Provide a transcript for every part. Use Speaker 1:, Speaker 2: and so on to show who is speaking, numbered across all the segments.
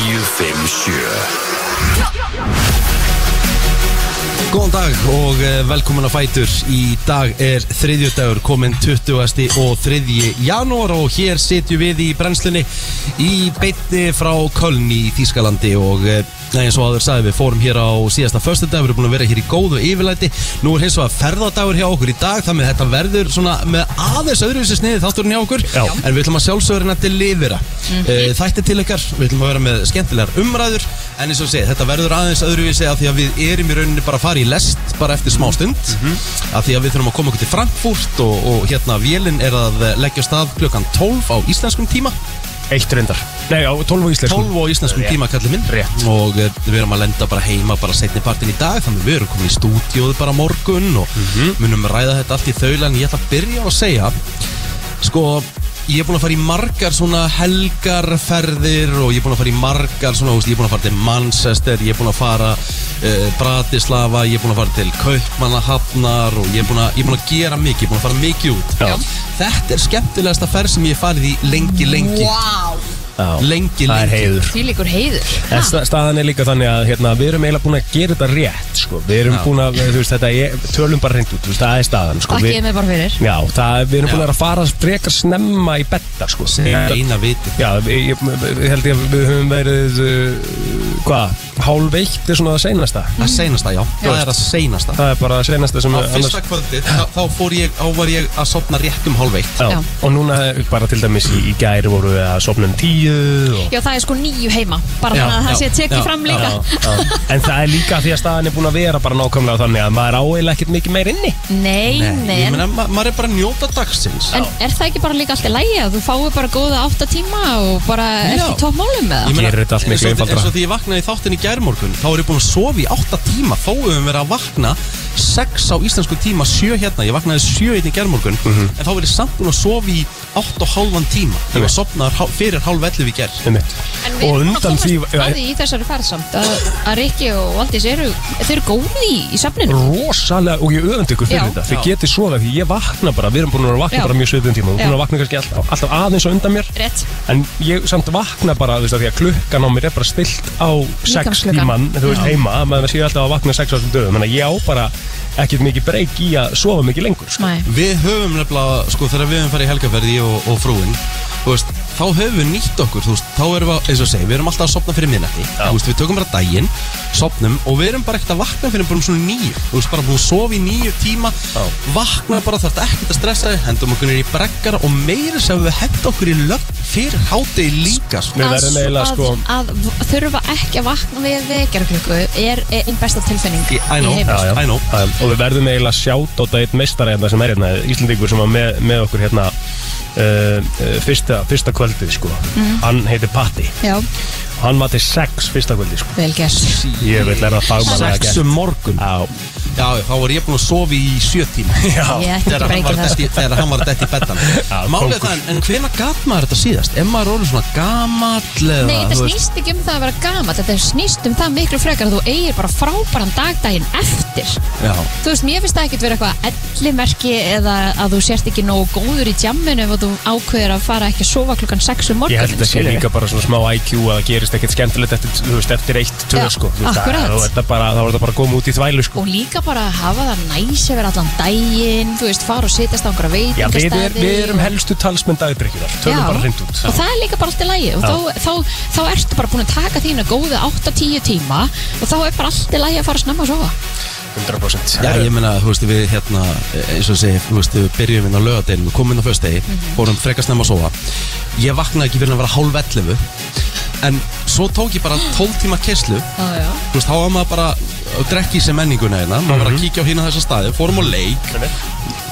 Speaker 1: FM 7
Speaker 2: Góðan dag og eh, velkomin að Fætur Í dag er þriðjudagur kominn 20. og 3. janúar og hér sitjum við í brennslunni í beinni frá Köln í Þýskalandi og eh, eins og aður sagði við fórum hér á síðasta föstudag, við erum búin að vera hér í góðu yfirlæti nú er hins vegar ferðadagur hjá okkur í dag þannig að þetta verður svona með aðeins öðruvísi sniði þátturinn hjá okkur
Speaker 3: Já.
Speaker 2: en við ætlum að sjálfsögurinn að delivera mm þætti til ykkar, við ætlum að vera með skemmtilegar umræður en eins og sé, þetta verður aðeins öðruvísi af því að við erum í rauninni bara að fara í lest bara eftir smá stund af því að við þurfum að koma okkur til Frankfurt og, og hérna vélinn er að eh, leggja af stað klukkan 12 á íslenskum tíma
Speaker 3: Eitt reyndar Nei, á 12 á íslenskum
Speaker 2: 12 á íslenskum
Speaker 3: Rétt.
Speaker 2: tíma kallir minn
Speaker 3: Rétt.
Speaker 2: og eh, við erum að lenda bara heima bara setni partin í dag þannig að við erum komin í stúdíóð bara á morgun og
Speaker 3: Mhm.
Speaker 2: munum ræða þetta allt í þaula en ég ætla að byrja á að segja sko ég er búin að fara í margar svona helgarferðir og ég er búin að fara í margar svona þú veist, ég er búin að fara til Manchester ég er búin að fara uh, Bratislava ég er búin að fara til Kaupmannahafnar og ég er búin að, ég er búin að gera mikið ég er búin að fara mikið út
Speaker 3: Já.
Speaker 2: þetta er skemmtilegasta ferð sem ég hef farið í lengi lengi
Speaker 4: Vá,
Speaker 2: lengi lengi
Speaker 3: Það er heiður
Speaker 4: því líkur heiður
Speaker 3: En sta- staðan er líka þannig að hérna, við erum eiginlega búin að gera þetta rétt sko. Við erum
Speaker 2: Já.
Speaker 3: búin að, þú veist, þetta er, tölum bara reynd út þú veist, Það er staðan sko.
Speaker 4: Takk ég
Speaker 3: við,
Speaker 4: mig bara fyrir
Speaker 3: Já, það, við erum búin
Speaker 2: Já.
Speaker 3: að vera að fara frekar snemma í betta sko.
Speaker 2: sem er
Speaker 3: Þetta-
Speaker 2: eina viti
Speaker 3: Já, ég, ég, ég held ég að við höfum verið uh, Hvað? Hálf eitt er svona það seinasta
Speaker 2: Það seinasta, já, það er það seinasta
Speaker 3: Það er bara það seinasta sem
Speaker 2: Á fyrsta kvöldi, þá, þá fór ég, þá var ég að sopna rétt um hálfveitt
Speaker 3: Já.
Speaker 4: Já.
Speaker 3: Og núna bara til dæmis í, í gæri voru við að sopna um tíu og...
Speaker 4: Já, það er sko nýju heima, bara
Speaker 2: Já,
Speaker 4: þannig að það
Speaker 2: já,
Speaker 4: sé
Speaker 2: já,
Speaker 4: tekið fram líka
Speaker 3: Já, já. En það er líka því að staðan er búin að vera bara nákvæmlega þannig að maður áeila ekkert mikið meir inni
Speaker 4: Nei, nei,
Speaker 2: Ég
Speaker 4: en,
Speaker 2: meina, ma maður er bara að njóta dagsins
Speaker 4: en er það ekki bara líka allt í lægi að þú fáið bara góða átta tíma og bara
Speaker 2: Já.
Speaker 4: ert í toppmálum með
Speaker 2: Ég
Speaker 4: það?
Speaker 2: meina,
Speaker 3: Gerir þetta allt
Speaker 2: eins
Speaker 3: miklu
Speaker 2: og-
Speaker 3: einfaldara.
Speaker 2: Eins og því ég vaknaði í þáttin í gærmorgun Þá er ég búin að sofa í 8 tíma Þá hefum verið að vakna 6 á íslensku tíma 7 hérna, ég vaknaði 7 hérna í gærmorgun
Speaker 3: Mhm.
Speaker 2: En þá verið samt búin að sofa í 8 og hálfan tíma Ég var sopnaður hál- fyrir hálf 11 í gær
Speaker 3: um mitt
Speaker 4: En
Speaker 3: Og
Speaker 4: við erum að
Speaker 3: undan því
Speaker 4: komast að því í þessari ferð samt að, að Rikki og Valdís eru, þeir eru góði í, í safninu
Speaker 3: rosalega, og ég öfndi ykkur fyrir
Speaker 4: Já.
Speaker 3: þetta þið
Speaker 2: Já.
Speaker 3: getið svoða, því ég vakna bara, við erum búin að vera að vakna
Speaker 4: Já.
Speaker 3: bara mjög svipum tíma, við erum búin að vakna kannski alltaf, alltaf aðeins og undan mér
Speaker 4: Rétt,
Speaker 3: en ég samt vakna bara, þú veist, af því að klukkan á mér er bara stilt á 6
Speaker 4: Líkamsklukkan.
Speaker 3: tíman, þú veist, heima maður séu alltaf að vakna 6 á þessum dögum, þannig að ég á bara ekkert mikið breyk í að sofa mikið lengur sko.
Speaker 4: mæ
Speaker 2: Við höfum nefnilega, sko, þegar við höfum farið í helgaferði ég og, og frúin, þú veist, þá höfum við nýtt okkur, þú veist, þá erum við, að- eins og segi, við erum alltaf að sopna fyrir minnætti, þú veist, við tökum bara daginn, sopnum og við erum bara ekkert að vakna fyrir bara um svona nýju, þú veist, bara búin að sofa í nýju tíma, vakna bara þarf ekkert að stressa, þig, hendum okkur niður í breggar og meira sem við henda okkur í lögn fyrir hátegi líka, sko.
Speaker 3: Við verðum eiginlega,
Speaker 4: að,
Speaker 3: sko-
Speaker 4: að, að þurfa ekki að vakna við vekjarklukku er einn besta tilfinning
Speaker 2: Í- I know,
Speaker 4: í heimi
Speaker 3: já, já.
Speaker 2: I know.
Speaker 3: Já, já. og við verðum eiginlega sjátt á þetta eitt meistara hérna sem er hérna, Íslandingur sem var með, með okkur hérna uh, uh, fyrsta, fyrsta kvöldið sko
Speaker 4: Mhm.
Speaker 3: hann heitir Patti,
Speaker 4: Já,
Speaker 3: hann var til sex fyrsta kvöldið sko
Speaker 4: vel gert
Speaker 3: ég vil læra að fagma það
Speaker 2: Sexu morgun
Speaker 3: Já,
Speaker 2: Já, já, þá var ég búin að sofa í sjö tíma
Speaker 4: Ég ætti ekki
Speaker 2: Þegar hann
Speaker 4: breyka
Speaker 2: var
Speaker 4: það
Speaker 2: dett í- þegar hann var dætt í bettan
Speaker 3: Já,
Speaker 2: Málið er
Speaker 3: kóngur.
Speaker 2: það, en- en hvena gat maður þetta síðast? Er maður orðin svona gamall eða
Speaker 4: Nei, þetta
Speaker 2: þú veist-
Speaker 4: snýst ekki um það að vera gamall Þetta snýst um það miklu frekar að þú eigir bara frábæran dagdægin eftir
Speaker 2: Já,
Speaker 4: Þú veist, mér finnst það ekkert vera eitthvað ellimerki eða að þú sért ekki nógu góður í djamminu ef þú ákveður að fara ekki að sofa klukkan 6
Speaker 3: ég
Speaker 4: um morgunin
Speaker 3: held að það sé líka bara svona smá IQ að það gerist ekkert skemmtilegt eftir, þú veist, eftir eitt, tvö
Speaker 4: Já,
Speaker 3: sko Þú veist,
Speaker 4: akkurat.
Speaker 3: það- þá er þetta bara, þá er þetta bara að koma út í þvælu sko
Speaker 4: Og líka bara að hafa það næs yfir allan daginn Þú veist, fara og setjast á einhverja
Speaker 3: Já, við, er,
Speaker 4: veitingastæði
Speaker 3: við erum helstu talsmenn dagdrykkjunar, tölum
Speaker 4: Já.
Speaker 3: bara hreint út
Speaker 4: og það er líka bara allt í lægi og þá, þá, þá ertu bara búin að taka þína góðu 8-10 tíma og þá er bara allt í lægi að fara snemma að sofa
Speaker 3: 100%
Speaker 2: já ég meina, þú veist, við hérna eins og segi, þú veist, við byrjum inn á lögadeginu komum inn á föstegi,
Speaker 4: Mhm.
Speaker 2: fórum frekast nefn að sofa Ég vaknaði ekki fyrir að vera hálf 11 En svo tók ég bara 12 tíma kesslu
Speaker 4: Já, já
Speaker 2: Þú veist, þá var maður bara að drekka í sig menninguna hérna Maður
Speaker 3: Mhm.
Speaker 2: var að kíkja á hérna þessa staði, fórum á leik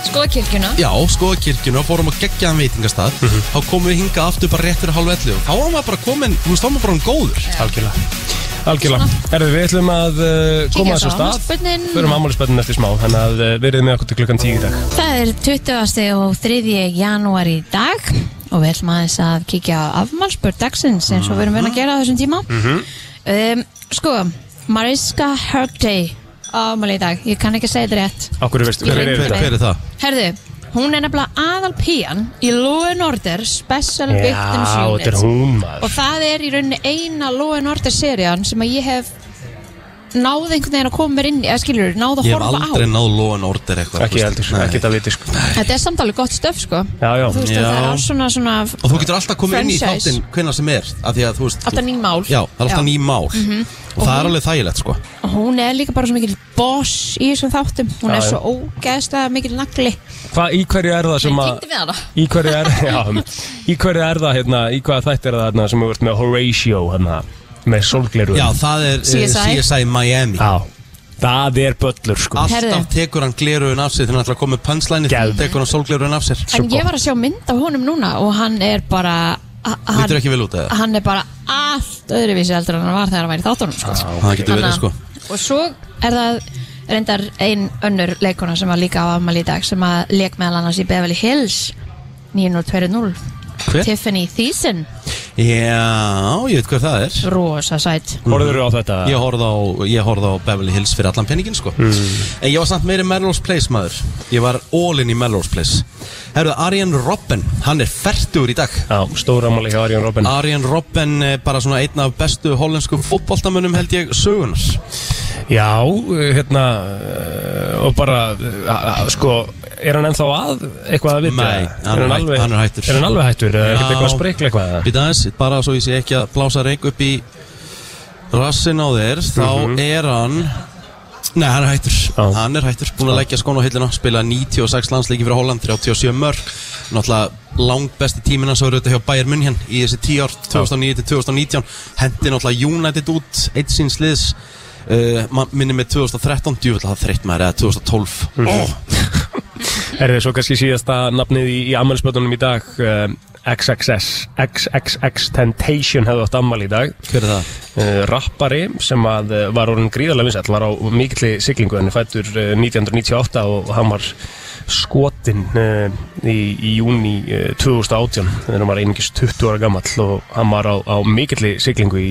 Speaker 4: Skoða kirkjuna
Speaker 2: Já, skoða kirkjuna, fórum að gegja hann veitingastað
Speaker 3: Mhm.
Speaker 2: Þá komum við hingað aftur bara rétt fyrir hálf 11 og Þá var maður bara komin, þú veist, þá var maður bara um góður
Speaker 3: Algjörlega Algjörlega, herðu við ætlum að uh, koma
Speaker 4: Kíkja
Speaker 3: þessu
Speaker 4: svo
Speaker 3: á
Speaker 4: á
Speaker 3: stað
Speaker 4: afmælisbörnin.
Speaker 3: Við erum ámælisbönnin eftir smá Þannig að uh, verið með okkur til klukkan 10 í dag
Speaker 4: Það er 20. og 3. janúar í dag og við ætlum aðeins að kíkja á afmálspörd dagsins eins og við erum verið
Speaker 3: Mhm.
Speaker 4: að gera á þessum tíma um, Sko, Mariska Hargday afmáli í dag, ég kann ekki að segja þetta rétt
Speaker 3: Akkur veist,
Speaker 4: Ég
Speaker 3: hver
Speaker 4: veit
Speaker 3: er
Speaker 4: það.
Speaker 2: Hver
Speaker 3: þetta?
Speaker 2: er það?
Speaker 4: Herðu, Hún er nefnilega aðal pían í Law and Order Special Victims
Speaker 3: Já,
Speaker 4: Unit
Speaker 3: þetta er hún
Speaker 4: og
Speaker 3: maður
Speaker 4: það er í rauninni eina Law and Order serían sem að ég hef náð einhvern veginn að koma mér inn í, eða skilur, náð að
Speaker 2: Ég hef
Speaker 4: horfa á
Speaker 2: aldrei náð lóan order eitthvað
Speaker 3: Ekki
Speaker 2: þú veist.
Speaker 3: heldur,
Speaker 2: Nei.
Speaker 3: ekki það viti sko
Speaker 4: Þetta er samtalið gott stöf sko
Speaker 3: Já, já,
Speaker 4: Þú veist
Speaker 2: Já.
Speaker 4: að það er svona svona
Speaker 2: Og þú getur alltaf komið inn í
Speaker 4: Franchise.
Speaker 2: þáttinn hvenær sem er af því að þú veist
Speaker 4: alltaf nýn mál
Speaker 2: Já, það er alltaf ný mál Og það er alveg þægilegt sko
Speaker 4: Og Hún er líka bara svo mikil boss í þessum þáttum
Speaker 3: Já,
Speaker 4: Hún er
Speaker 3: já.
Speaker 4: svo ógeðslega mikil nagli
Speaker 3: Hvað, í hverju er það sem að
Speaker 4: Tengdi við hana
Speaker 3: Í hverju er, já, um, í hverju er það hérna, í hvaða þætti er það hérna sem við vart með Horatio hérna, með solgleru
Speaker 2: Já, það er eh,
Speaker 4: CSI.
Speaker 2: CSI Miami
Speaker 3: það er böllur sko
Speaker 2: Alltaf
Speaker 4: Herðu.
Speaker 2: tekur hann gleruðun af sér þegar hann ætlar að koma með punchline
Speaker 3: Geðveikt.
Speaker 2: tekur hann sólgleruðun af sér
Speaker 4: En ég var að sjá mynd af honum núna Og hann er bara a-
Speaker 2: Lítur
Speaker 4: hann,
Speaker 2: ekki vel út eða?
Speaker 4: hann er bara allt öðruvísi heldur en hann var þegar hann væri í þáttunum sko.
Speaker 2: Það getur verið
Speaker 4: Þannig
Speaker 2: sko
Speaker 4: að- Og svo er það reyndar ein önnur leikona sem var líka á afmæli í dag sem að leik meðal annars í Beverly Hills 9020
Speaker 2: Hver?
Speaker 4: Tiffany Thiessen
Speaker 2: Já, ég veit hver það er
Speaker 4: rosa sætt
Speaker 3: Horður á þetta?
Speaker 2: Ég horfði á, ég horfði á Beverly Hills fyrir allan penningin sko En ég var samt meiri Melrose Place maður Ég var all in í Melrose Place Herðu, Arjen Robben, hann er færtur í dag
Speaker 3: Já, stóra máli hjá Arjón Robin
Speaker 2: Arjen Robben, eh, bara svona einn af bestu hollensku fótboltamönnum held ég sögunars
Speaker 3: Já, eh, hérna eh, og bara, eh, a- a- sko er hann ennþá að eitthvað að vita?
Speaker 2: Nei, hann
Speaker 3: er
Speaker 2: er hætt-
Speaker 3: alveg,
Speaker 2: hann er hættur.
Speaker 3: Er hann alveg hættur? Er
Speaker 2: Já.
Speaker 3: þetta eitthvað að sprikla eitthvað? eða?
Speaker 2: Býta aðeins, bara svo ég sé ekki að blása reik upp í rassin á þér Þá er hann Nei, hann er hættur
Speaker 3: Mhm. Já.
Speaker 2: Hann er hættur, búin að leggja skónu á hillina Spila 96 landsleiki fyrir Holland, 37 mörg Náttúrulega langt besti tíminn hans var auðvitað hjá Bayern München Í þessi 10 ár, 2009 til 2019 Hendi náttúrulega United út Eitt síns liðs Uh, man- minnir mig 2013, djúvill að það þreytt maður eða 2012 mm
Speaker 3: Mhm. Oh. Er þið svo kannski síðasta nafnið í, í ammælspötunum í dag uh, XXS XXX Tentation hefði átt ammæli í dag
Speaker 2: Hver er það?
Speaker 3: uh, Rappari sem að uh, var orðin gríðarlega vinsæll var á mikilli siglingu en fættur uh, 1998 og hann var skotinn uh, í, í júni uh, 2018 þegar hann var einingis 20 ára gamall og hann var á, á mikilli siglingu í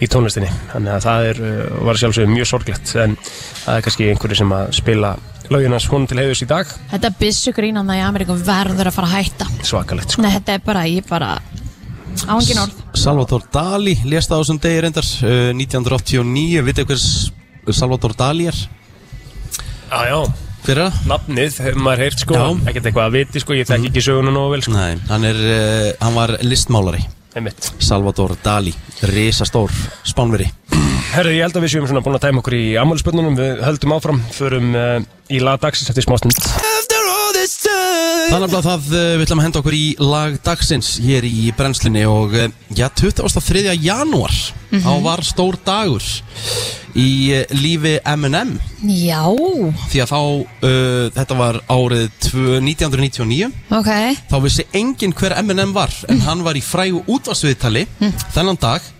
Speaker 3: í tónlistinni, þannig að það er, uh, var sjálfsögum mjög sorglegt en það er kannski einhverju sem að spila lögin hans hún til heiðus í dag,
Speaker 4: Þetta byssu grínan það í Ameríkum verður að fara að hætta
Speaker 3: svakalegt sko.
Speaker 4: Nei, þetta er bara, ég bara ángin orð
Speaker 2: Salvador Dali lést á þessum degi reyndar uh, 1989, vitið hvers Salvador Dali er?
Speaker 3: Já, já,
Speaker 2: Hver er það?
Speaker 3: nafnið, hefur maður heyrt sko,
Speaker 2: Já.
Speaker 3: ekkert eitthvað að viti sko, ég þekki ekki söguna nógu vel sko,
Speaker 2: Nei, hann, er, uh, hann var listmálari
Speaker 3: einmitt.
Speaker 2: Salvador Dali, risastór spánveri
Speaker 3: Herðu, ég held að við séum svona búin að tæma okkur í ammálspöndunum, við höldum áfram, förum uh, í laga dagsins eftir smástund.
Speaker 4: Mhm.
Speaker 2: Þannig að það uh, við ætlum að henda okkur í lag dagsins hér í brennslunni og uh, já, 23. janúar þá var stór dagur í uh, lífi M&M
Speaker 4: Já,
Speaker 2: því að þá, uh, þetta var árið tvö- 1999
Speaker 4: ok
Speaker 2: þá vissi enginn hver M&M var en hann var í frægu útvarsviðtali þennan dag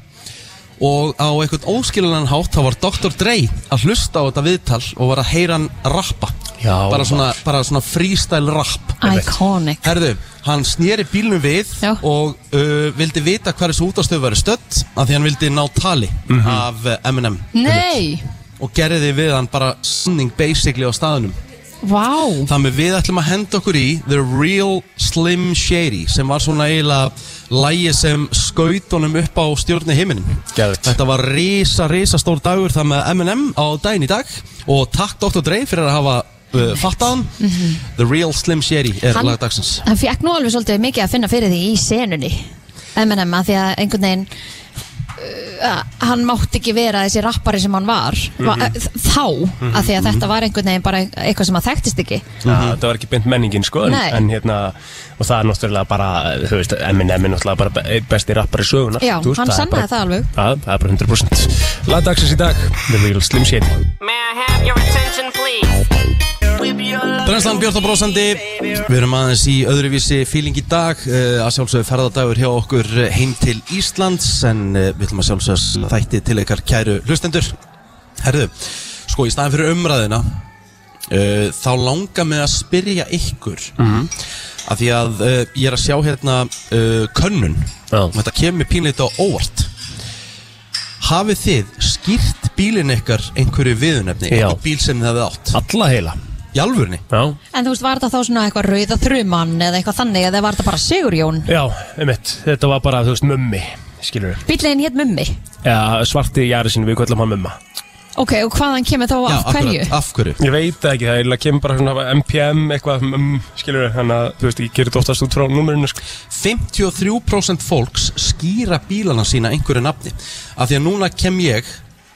Speaker 2: og á einhvern óskilunan hátt þá var Dr. Dre að hlusta á þetta viðtal og var að heyra hann rappa
Speaker 3: Já,
Speaker 2: bara, svona, bara svona freestyle rap
Speaker 4: Iconic
Speaker 2: Herðu, hann snýri bílnum við
Speaker 4: Já.
Speaker 2: og uh, vildi vita hver þessu útastöðu væri stödd af því hann vildi ná tali af uh, M&M
Speaker 4: Nei,
Speaker 2: og gerði við hann bara sinning basically á staðunum
Speaker 4: vá
Speaker 2: Þannig við ætlum að henda okkur í The Real Slim Shady sem var svona eiginlega lægi sem skaut honum upp á stjórni heiminin
Speaker 3: Geðvægt.
Speaker 2: Þetta var risa, risa stór dagur það með M&M á daginn í dag og takk Dr. Dre fyrir að hafa uh, fattað hann The Real Slim Shady er
Speaker 4: Hann-
Speaker 2: lag dagsins
Speaker 4: Hann fekk nú alveg svolítið mikið að finna fyrir því í senunni M&M að því að einhvern veginn uh, hann mátti ekki vera þessi rappari sem hann var mm þá, að því að þetta var einhvern veginn bara eitthvað sem hann þekktist ekki
Speaker 3: Mm Það var ekki beint menningin sko en,
Speaker 4: Nei.
Speaker 3: en hérna, og það er náttúrulega bara þú veist, Eminem er náttúrulega bara be- einn besti rappari söguna
Speaker 4: Já,
Speaker 3: þú
Speaker 4: hann
Speaker 3: er
Speaker 4: sannaði
Speaker 3: bara-
Speaker 4: það alveg.
Speaker 3: Það, það er bara 100% Lagdagsins í dag, The Real Slim Shady
Speaker 5: May I have your attention, please?
Speaker 2: Brennslan Björn og Brósandi Við erum aðeins í öðruvísi fíling í dag uh, að sjálfsögðu ferðadagur hjá okkur eh, heim til Íslands en uh, við ætlum að sjálfsögðu þætti til ykkar kæru hlustendur Herðu, sko í staðin fyrir umræðina uh, þá langar mig að spyrja ykkur
Speaker 3: Mhm.
Speaker 2: af því að uh, ég er að sjá hérna uh, könnun
Speaker 3: Já.
Speaker 2: og þetta kemur pínleita á óvart Hafið þið skýrt bílinn ykkar einhverju viðunefni
Speaker 3: Já.
Speaker 2: einhver bíl sem þið hafið átt
Speaker 3: Alla heila
Speaker 2: Í alvörni?
Speaker 3: Já,
Speaker 4: En þú veist, var þetta þá svona eitthvað rauða þrumann eða eitthvað þannig eða var þetta bara Sigurjón?
Speaker 3: já, einmitt, þetta var bara, þú veist, mummi, skilur við
Speaker 4: Bíllinn hétt Mummi.
Speaker 3: Já, svarti jari sinni, við kvöllum hann mumma
Speaker 4: Ok, og hvaðan kemur þá
Speaker 2: Já,
Speaker 4: af hverju?
Speaker 2: akkurat, af hverju?
Speaker 3: Ég veit það ekki, það er eiginlega kemur bara svona MPM eitthvað, mm, skilur við, þannig að, þú veist, ég gerir þetta oftast út frá númerinu, sko
Speaker 2: 53% fólks skýra bílana sína einhverju nafni af því að núna kem ég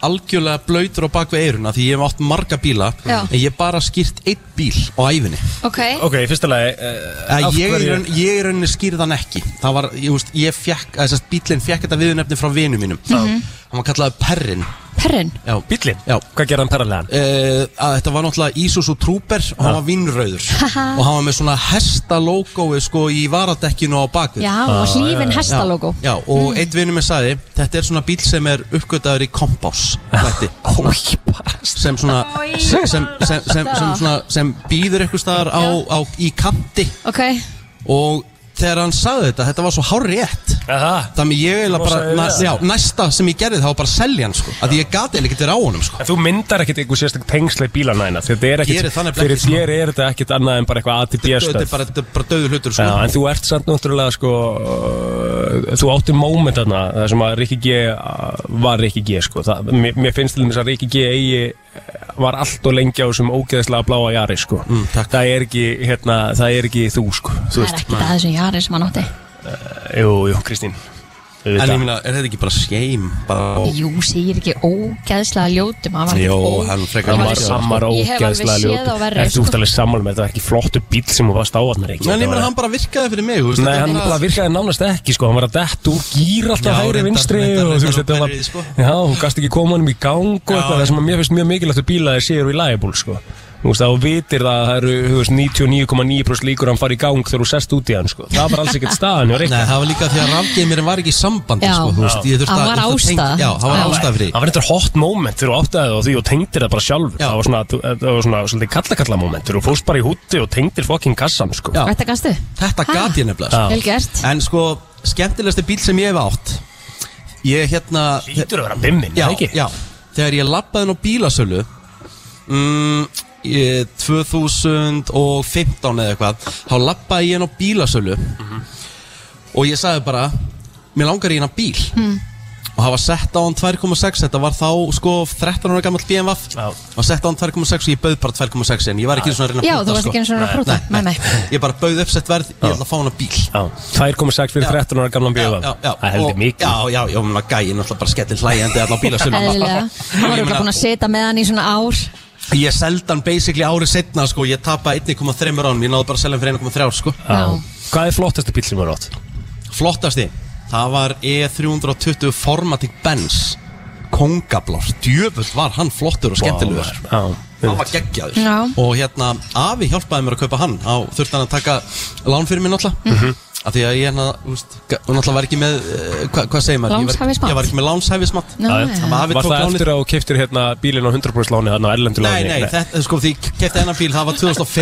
Speaker 2: algjörlega blöytur á bakvið eiruna því ég hef átt marga bíla
Speaker 4: Já.
Speaker 2: en ég hef bara skýrt einn bíl á æfinni
Speaker 4: Ok,
Speaker 3: Ok, í fyrsta lagi, uh,
Speaker 2: Eða ég, í raun, ég í rauninni skýrði hann ekki það var, ég veist, ég fekk þess að bílinn fekk þetta viðunefni frá vinum mínum Mhm. hann var kallaði Perrin
Speaker 4: perrin.
Speaker 2: já,
Speaker 3: Bíllinn,
Speaker 2: Já.
Speaker 3: hvað gerði hann parallegan?
Speaker 2: Uh, að þetta var náttúrulega Isuzu Trooper og hann var vinnröður og hann var með svona hesta logoið sko í varadekkinu á bakvið
Speaker 4: Já, og hlífin hestalógo.
Speaker 2: Ah, Já, og einn vinnum minn sagði Þetta er svona bíl sem er uppgötaður í kompás Þetta sem svona sem, sem, sem, sem, sem, svona, sem býður eitthvað staðar á, á, í kanti
Speaker 4: Ok,
Speaker 2: og þegar hann sagði þetta, þetta var svo hárið rétt
Speaker 3: Aha,
Speaker 2: Þannig ég eiginlega bara,
Speaker 3: sagði
Speaker 2: næ,
Speaker 3: það.
Speaker 2: já, næsta sem ég gerði þá var bara að selja hann sko, að ég gati eiginlega ekki verið á honum sko
Speaker 3: En þú myndar ekkert einhver sérstak tengsla í bílana hérna Þetta er
Speaker 2: Gerir
Speaker 3: ekkert,
Speaker 2: það nefnilega
Speaker 3: fyrir
Speaker 2: ekki, sko.
Speaker 3: þér er þetta ekkert annað en bara eitthvað
Speaker 2: Þetta er
Speaker 3: ATB-stöð
Speaker 2: bara, þetta er bara döður hlutur
Speaker 3: Já,
Speaker 2: sko
Speaker 3: en þú ert samt náttúrulega sko uh, Þú áttir moment þarna Það sem að Rikki G uh, var Rikki G sko það, mér, mér finnst til þess að Rikki G eigi uh, Var allt og lengi á þessum ógeðslega bláa jari sko
Speaker 2: Mm, takk.
Speaker 3: Það er ekki, hérna, það er ekki þú sko Þú
Speaker 4: það er
Speaker 3: veist,
Speaker 4: ekki það þessum jari sem hann átti.
Speaker 3: jú, jú, Kristín
Speaker 2: En ég meina, er þetta ekki bara shame? Bara,
Speaker 4: Jú, segir ekki ógeðslega ljótum. hann var
Speaker 2: Jó,
Speaker 4: ekki
Speaker 2: hann frekar
Speaker 4: hann
Speaker 2: var
Speaker 3: Samar,
Speaker 2: ekki-
Speaker 3: samar
Speaker 4: Ég hef alveg
Speaker 3: ógeðslega
Speaker 4: séð á verri,
Speaker 3: ljót Þú
Speaker 4: sko.
Speaker 3: ert alveg sammála með þetta var ekki flottu bíl sem þú varst á þarna
Speaker 2: Nei, en
Speaker 3: Rikki Þetta
Speaker 2: ég meina,
Speaker 3: var-
Speaker 2: hann bara virkaði fyrir mig þú veist,
Speaker 3: Nei,
Speaker 2: þetta er
Speaker 3: hann
Speaker 2: bara-
Speaker 3: bara virkaði nánast ekki sko, hann var að dett úr gýr alltaf
Speaker 2: Já,
Speaker 3: hægri
Speaker 2: reyndar-
Speaker 3: vinstri
Speaker 2: reyndar-
Speaker 3: og þú veist
Speaker 2: reyndar
Speaker 3: þetta var,
Speaker 2: pælir í því, sko.
Speaker 3: já, hún gast ekki koma honum í gang og
Speaker 2: Já,
Speaker 3: eitthvað, það sem að mér finnst mjög mikilvægt að bíla þeir séu í lagibúl sko, þú veist þá vitir það að það eru, þú veist, 99,9% líkur að hann fari í gang þegar þú sest út í hann sko, það var alls ekkert staðan, ég
Speaker 2: Nei, það var líka því að rafgeimirinn var ekki í sambandi
Speaker 4: Já.
Speaker 2: sko, þú veist, ég þurfti
Speaker 4: Hann
Speaker 2: að-
Speaker 4: var
Speaker 2: ég þurfti að
Speaker 4: ástæða.
Speaker 2: tengja- Já, hann var
Speaker 4: Já.
Speaker 2: ástæða fyrir því.
Speaker 3: Það var eitthvað hot moment þegar þú áttaði og því og tengdir það bara sjálfur
Speaker 2: Já.
Speaker 3: Það var svona, það var svona svolítið kallakalla moment þegar þú fórst bara í húti og tengdir fokkin kassan sko
Speaker 2: Já.
Speaker 4: Þetta gæstu?
Speaker 2: Þetta gat ég nefnilega sko.
Speaker 3: Já.
Speaker 4: Vel gert.
Speaker 2: En sko, skemmtilegasti bíl sem ég hef átt Ég hérna
Speaker 3: Lítur að vera bimmin,
Speaker 2: já,
Speaker 3: er það ekki?
Speaker 2: já, þegar ég labbaði nú bílasölu mm, ég, 2015 eða eitthvað þá labbaði ég nú bílasölu og ég sagði bara mér langar í hennar bíl
Speaker 4: Hmm.
Speaker 2: og það var sett á hann 2,6 þetta var þá sko 13 ára gammal BMW
Speaker 3: Já.
Speaker 2: og sett á hann 2,6 og ég bauð bara 2,6 en ég var ekki einu svona að reyna að
Speaker 4: Já,
Speaker 2: prútta,
Speaker 4: þú varst
Speaker 2: sko.
Speaker 4: ekki eins og hann að prúta. Nei, nei.
Speaker 2: ég bara bauð uppsett verð, ég ætla að fá hann að bíl
Speaker 3: Já, 2,6 fyrir
Speaker 2: Já.
Speaker 3: 13 ára gamlan bíða Það heldur
Speaker 2: og-
Speaker 3: mikið
Speaker 2: Já, já, já, menn að gæin alltaf bara skellir hlægjandi allar bílasölu
Speaker 4: Eðlilega. Hann var ekki búin að setja með hann í svona ár.
Speaker 2: Ég seldi hann basically árið setna sko, ég tapaði 1,3 ránum, ég náði bara að selja hann fyrir 1,3 sko.
Speaker 4: Já.
Speaker 3: Hvað er flottasta bíl sem þú átt?
Speaker 2: Flottasti, það var E E320 Formatic Benz, kongablár, djöfull var hann flottur og skemmtilegur.
Speaker 3: Já,
Speaker 2: Hann var geggjaður
Speaker 4: Já.
Speaker 2: Og hérna, afi hjálpaði mér að kaupa hann á, Þurfti hann að taka lán fyrir mér náttúrulega mm
Speaker 3: Mhm.
Speaker 2: Því að ég hérna, þú veist, ga- náttúrulega var ekki með uh, hva, Hvað segir maður? Ég var-
Speaker 4: Lánshæfismat.
Speaker 2: Ég var ekki með lánshæfismat
Speaker 4: Nú,
Speaker 3: Já,
Speaker 4: já.
Speaker 2: Hann afi
Speaker 3: Var
Speaker 2: tók
Speaker 3: það
Speaker 2: lánið-
Speaker 3: eftir að þú keiftir hérna bílinn á 100% láni þarna á erlendu
Speaker 2: Nei,
Speaker 3: láni?
Speaker 2: nei, þetta, sko, því ég kefti hennan bíl, það var